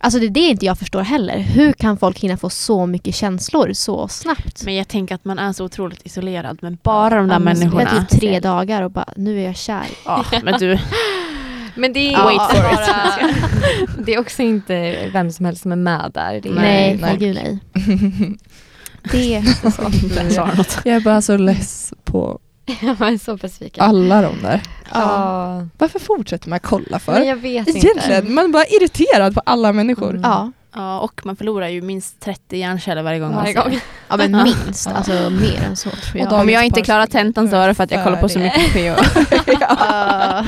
Alltså det är det inte jag förstår heller. Hur kan folk hinna få så mycket känslor så snabbt? Men jag tänker att man är så otroligt isolerad. Men bara de där Ja, men så- Det är människorna. typ tre dagar och bara, nu är jag kär. Ja, men [laughs] du. Men det är, Ja, wait inte for bara, [laughs] det är också inte vem som helst som är med där. Det är Nej, nej. nej. gud nej. [laughs] Det, Där sa du något. Jag är bara så less på [laughs] Jag är så besviken. alla de där. Ja. Varför fortsätter man kolla för? Men jag vet inte. Egentligen, man är bara irriterad på alla människor. Mm. ja. Ja, och man förlorar ju minst 30 hjärnceller varje gång. man Varje ser. gång. ja, men minst. Alltså mer än så tror Och jag. de- Om jag inte klarar tentan så är det för att jag kollar på så [laughs] mycket PO. Ja,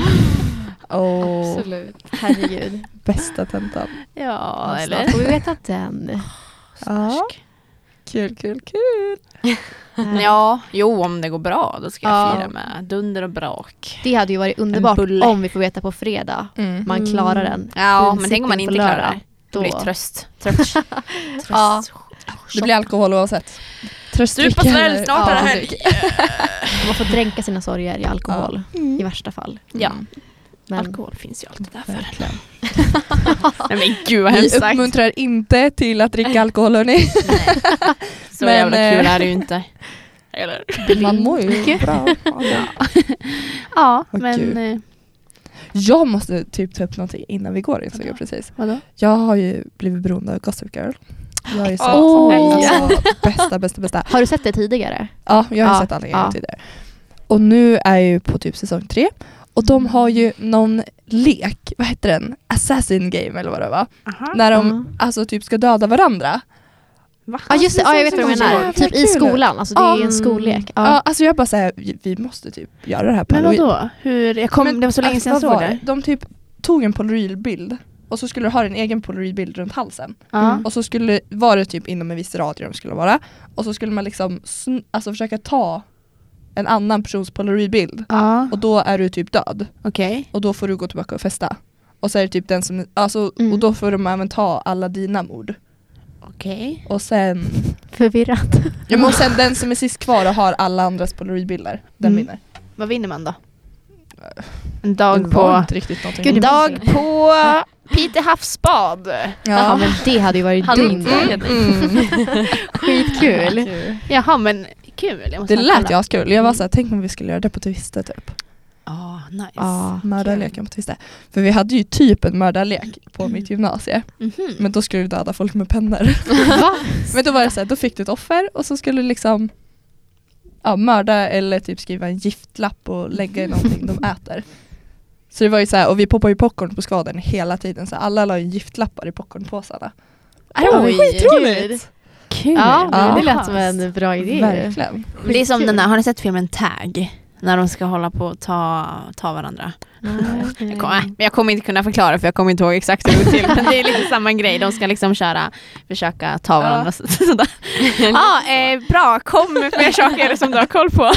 Åh, Absolut. herregud. bästa tentan. [laughs] Ja, eller? Snart får vi veta den. Ja. Kul, kul, kul. Ja, jo om det går bra då ska jag Ja. fira med dunder och brak. Det hade ju varit underbart En bulle. om vi får veta på fredag. Mm. Man Mm. klarar den. Ja, men Finsittning tänk om man på inte klarar lördag. det. Då Då. blir det tröst. [laughs] Tröst. tröst. Ja. Det blir alkohol oavsett. Supa snäll, snart är det Ja. helg. Man får dränka sina sorger i alkohol i värsta fall. Ja, Men alkohol finns ju alltid där för. Mm, Verkligen. Nej men gud [laughs] vad Vi hemskt sagt. uppmuntrar inte till att dricka alkohol hörni. Så Men, jävla kul eh, är det ju inte. [laughs] Eller? Man mår ju bra. av det. Ja, Åh, men... gud. eh, Jag måste typ ta upp någonting innan vi går insåg jag precis. Vadå? Jag har ju blivit beroende av Gossip Girl. Jag är så Åh. alltså, bästa, bästa, bästa. har du sett det tidigare? Ja, jag har Ja, sett alla ja. grejer tidigare. Och nu är jag ju på typ säsong tre. Och de har ju någon lek, vad heter den? Assassin game eller vad det var. När de Mm. alltså typ ska döda varandra. Ja just det, ja, jag vet vad du Jävla menar. Typ i kul. skolan, alltså det är ju Ja. en skollek. Ja. Ja. alltså jag bara säger, vi, vi måste typ göra det här på Men Halloween. vadå? Hur? Jag kom, Men, det var så länge alltså, sedan jag vad var såg det. De typ tog en polaroidbild och så skulle du ha din egen polaroidbild runt halsen. Ja. Och så skulle var det typ inom en viss radie de skulle vara. Och så skulle man liksom sn- alltså försöka ta en annan persons polaroidbild. Ja, Och då är du typ död. okej. Och då får du gå tillbaka och festa. Och så är det typ den som, alltså, Mm. och då får de även ta alla dina mord. Okej. Och sen, Förvirrat. ja, men och sen den som är sist kvar och har alla andras polaroidbilder, den Mm. vinner. Vad vinner man då? Eh, En dag Det var på... inte riktigt någonting. Gud, det var- dag på [laughs] Pite havsbad. Ja ja. men det hade ju varit Hallå. dumt. Mm, [laughs] Mm. Skitkul. Jaha men kul. Jag måste Det lät kolla. ju askul. Jag var såhär, tänk om vi skulle göra det på Twiste typ. Ah, nice. Ja. Mördarleken på Twiste. För vi hade ju typ en mördarlek på mitt gymnasie. Mhm. Men då skulle du döda folk med pennor. Va? Men då var det så här, då fick du ett offer och så skulle du liksom ja, mörda eller typ skriva en giftlapp och lägga i någonting de äter. Så det var ju så här, och vi poppar ju popcorn på skvaden hela tiden så alla la ju giftlappar i popcornpåsarna. Det var Oj, skitroligt! Kul. Ja, Ja. det lät som en bra idé. ju. Verkligen. Men Det är som den där, har ni sett filmen Tag? när de ska hålla på och ta, ta varandra. Nej. Mm. Jag kommer, äh, men jag kommer inte kunna förklara för jag kommer inte ihåg exakt hur det går till. Men det är lite samma grej. De ska liksom köra, försöka ta varandra. Ja. [laughs] Sådär. Ja, eh, bra, kom med fler saker som du har koll [laughs] på.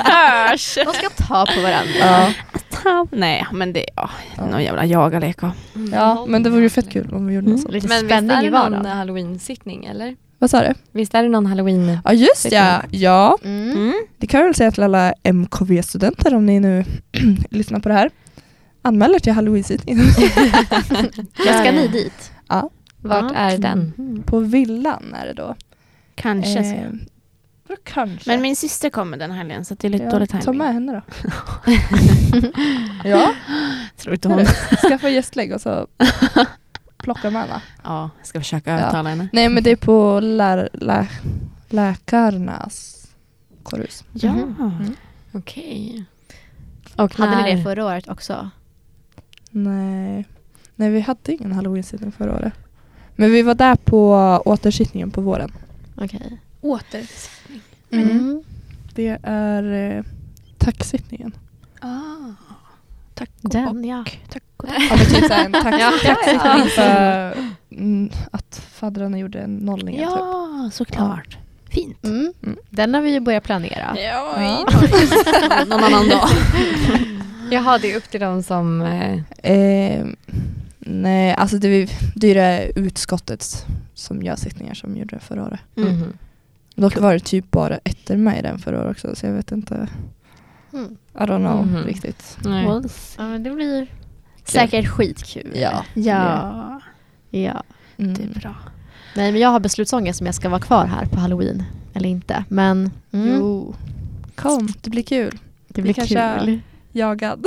Hörs! De ska ta på varandra. Ja. Nej, men det är ja, någon jävla jagarlek. och- ja, men det vore ju fett kul om vi gjorde något sånt. Lite Men visst spänning är i det någon vardagen. halloween-sittning eller? Vad sa du? Visst är det någon halloween? Ja just ja, ja. Mm. Mm. Det kan jag väl säga till alla MKV-studenter om ni nu [clears throat] lyssnar på det här. Anmäl er till halloween-sittningen [laughs] Men Eh, ska ni dit? Vart Ja. är den? Mm. Mm-hmm. på villan är det då. Kanske. så. Eh, vadå kanske. Men min syster kommer den helgen så att det är lite Ja, dålig Ta tajming. med henne då. [laughs] ja, Tror inte hon. skaffa gästlägg och [laughs] så plocka med henne. Ja, jag ska försöka övertala henne. Nej men det är på lär, lä, läkarnas korus. Ja. Mm. Okej. Och Hade ni det för? förra året också? Nej. Nej vi hade ingen halloween-sittning förra året. Men vi var där på återsittningen på våren. Okej. Åter. Mm. Det är eh, taxittningen. Ah. Tack och bock. Den ja. Tack och Ja men typ [laughs] såhär en tax- taxittning för mm, att faddrarna gjorde en nollning typ. Ja, såklart. Fint. Mm. Mm. Den har vi ju börjat planera. [laughs] Ja. Någon annan dag. Jaha, det är upp till dem som... Eh, Eh, nej alltså det, vi- det är det utskottet som gör sittningar som gjorde det förra året. Mm. mhm. Dock var det typ bara ettor med i den förra året också så jag vet inte. Mm. I don't know Mhm. riktigt. Nej. Ja, men det blir säkert skitkul. Ja. Ja, ja. Mm. det är bra. Nej, men jag har beslutsångest om jag ska vara kvar här på halloween eller inte. Men mm, Jo. Kom, det blir kul. det blir kanske- kul. Jagad.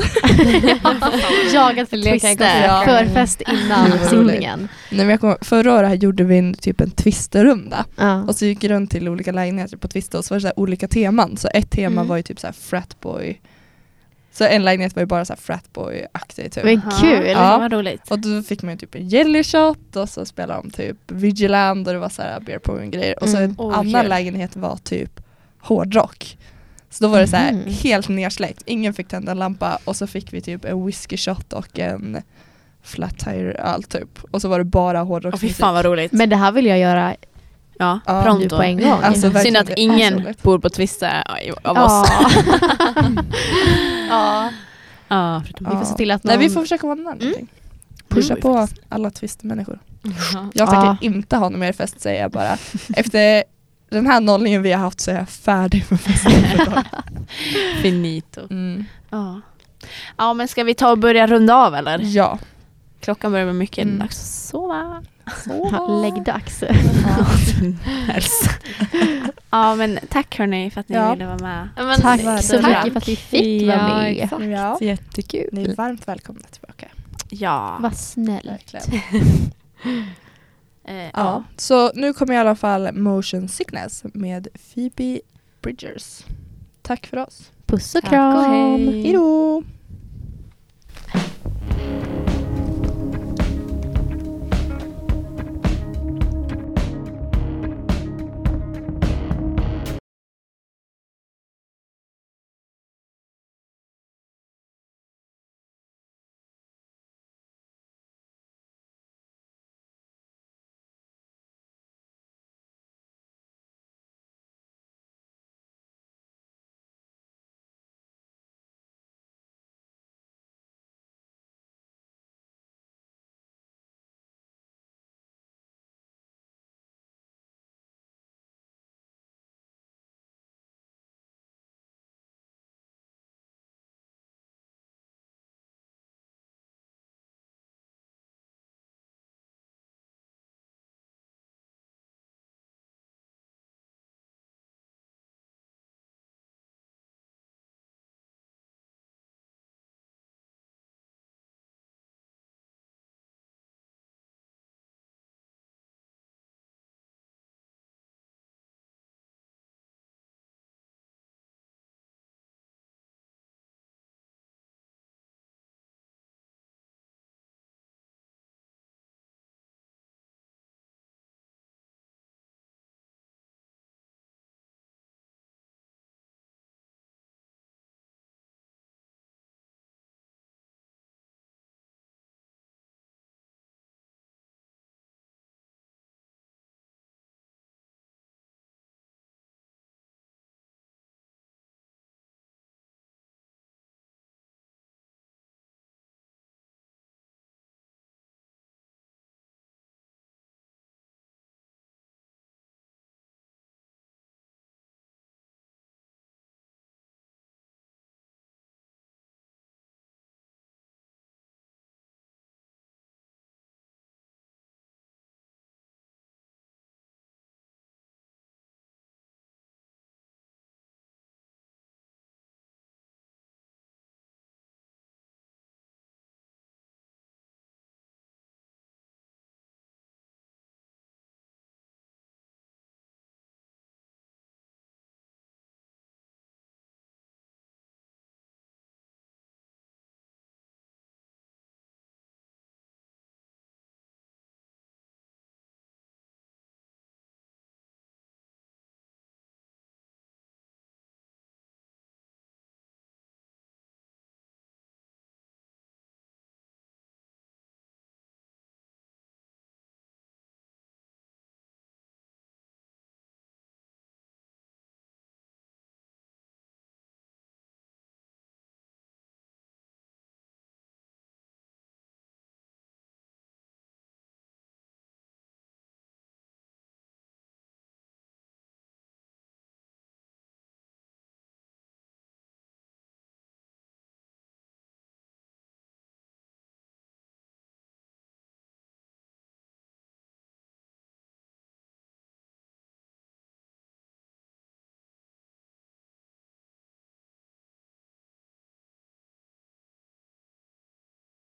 Jagat för Leka twister. konflikter. Förfest innan Gud, vad roligt. simningen. Nej, men jag kommer, förra året här gjorde vi en, typ en twisterrunda Ja. och så gick vi runt till olika lägenheter på twister och så var det så här olika teman. Så ett tema Mm. var ju typ så här fratboy. Så en lägenhet var ju bara så här fratboy-aktig typ. Men kul. Ja. Vad roligt. Och då fick man ju typ en jelly shot och så spelade de typ Vigiland och det var så här beer pong och grejer. Och så Mm. en Oj, annan kul. lägenhet var typ hårdrock. Så då var det så här Mhm. helt nersläckt, ingen fick tända en lampa och så fick vi typ en whisky shot och en flat tire öl typ. Och så var det bara Och hårdrock. fy fan vad roligt. Men det här vill jag göra ja, Ja. nu pronto. på en gång. Alltså, Synd verkligen, att det är så ingen roligt. bor på Twister av Ja. oss. ja. [laughs] Ja, förutom Ja. Vi får se till att någon... Mm. Nej vi får försöka vara nära någonting. Pusha Mm. på alla twistermänniskor. Jaha. Jag tänker Ja. inte ha någon mer fest säger jag [laughs] bara. Efter den här nollningen vi har haft så är jag färdig med festen. för dagen. finito. Mm. Ja. Mm. ja, men ska vi ta och börja runda av eller? Ja. Klockan börjar bli mycket, Mm. det är dags att sova. [laughs] Ja, Läggdags. Ja, men tack hörni för att ni Ja. ville vara med. Men, Tack Så Tack. mycket för att vi fick vara Ja, med. exakt. Ja. Jättekul. Ni är varmt välkomna tillbaka. Ja. Vad snällt. Verkligen. Eh, ja. Ja. Så nu kommer i alla fall Motion Sickness med Phoebe Bridgers. Tack för oss. Puss och Tack och kram. hej. Hejdå!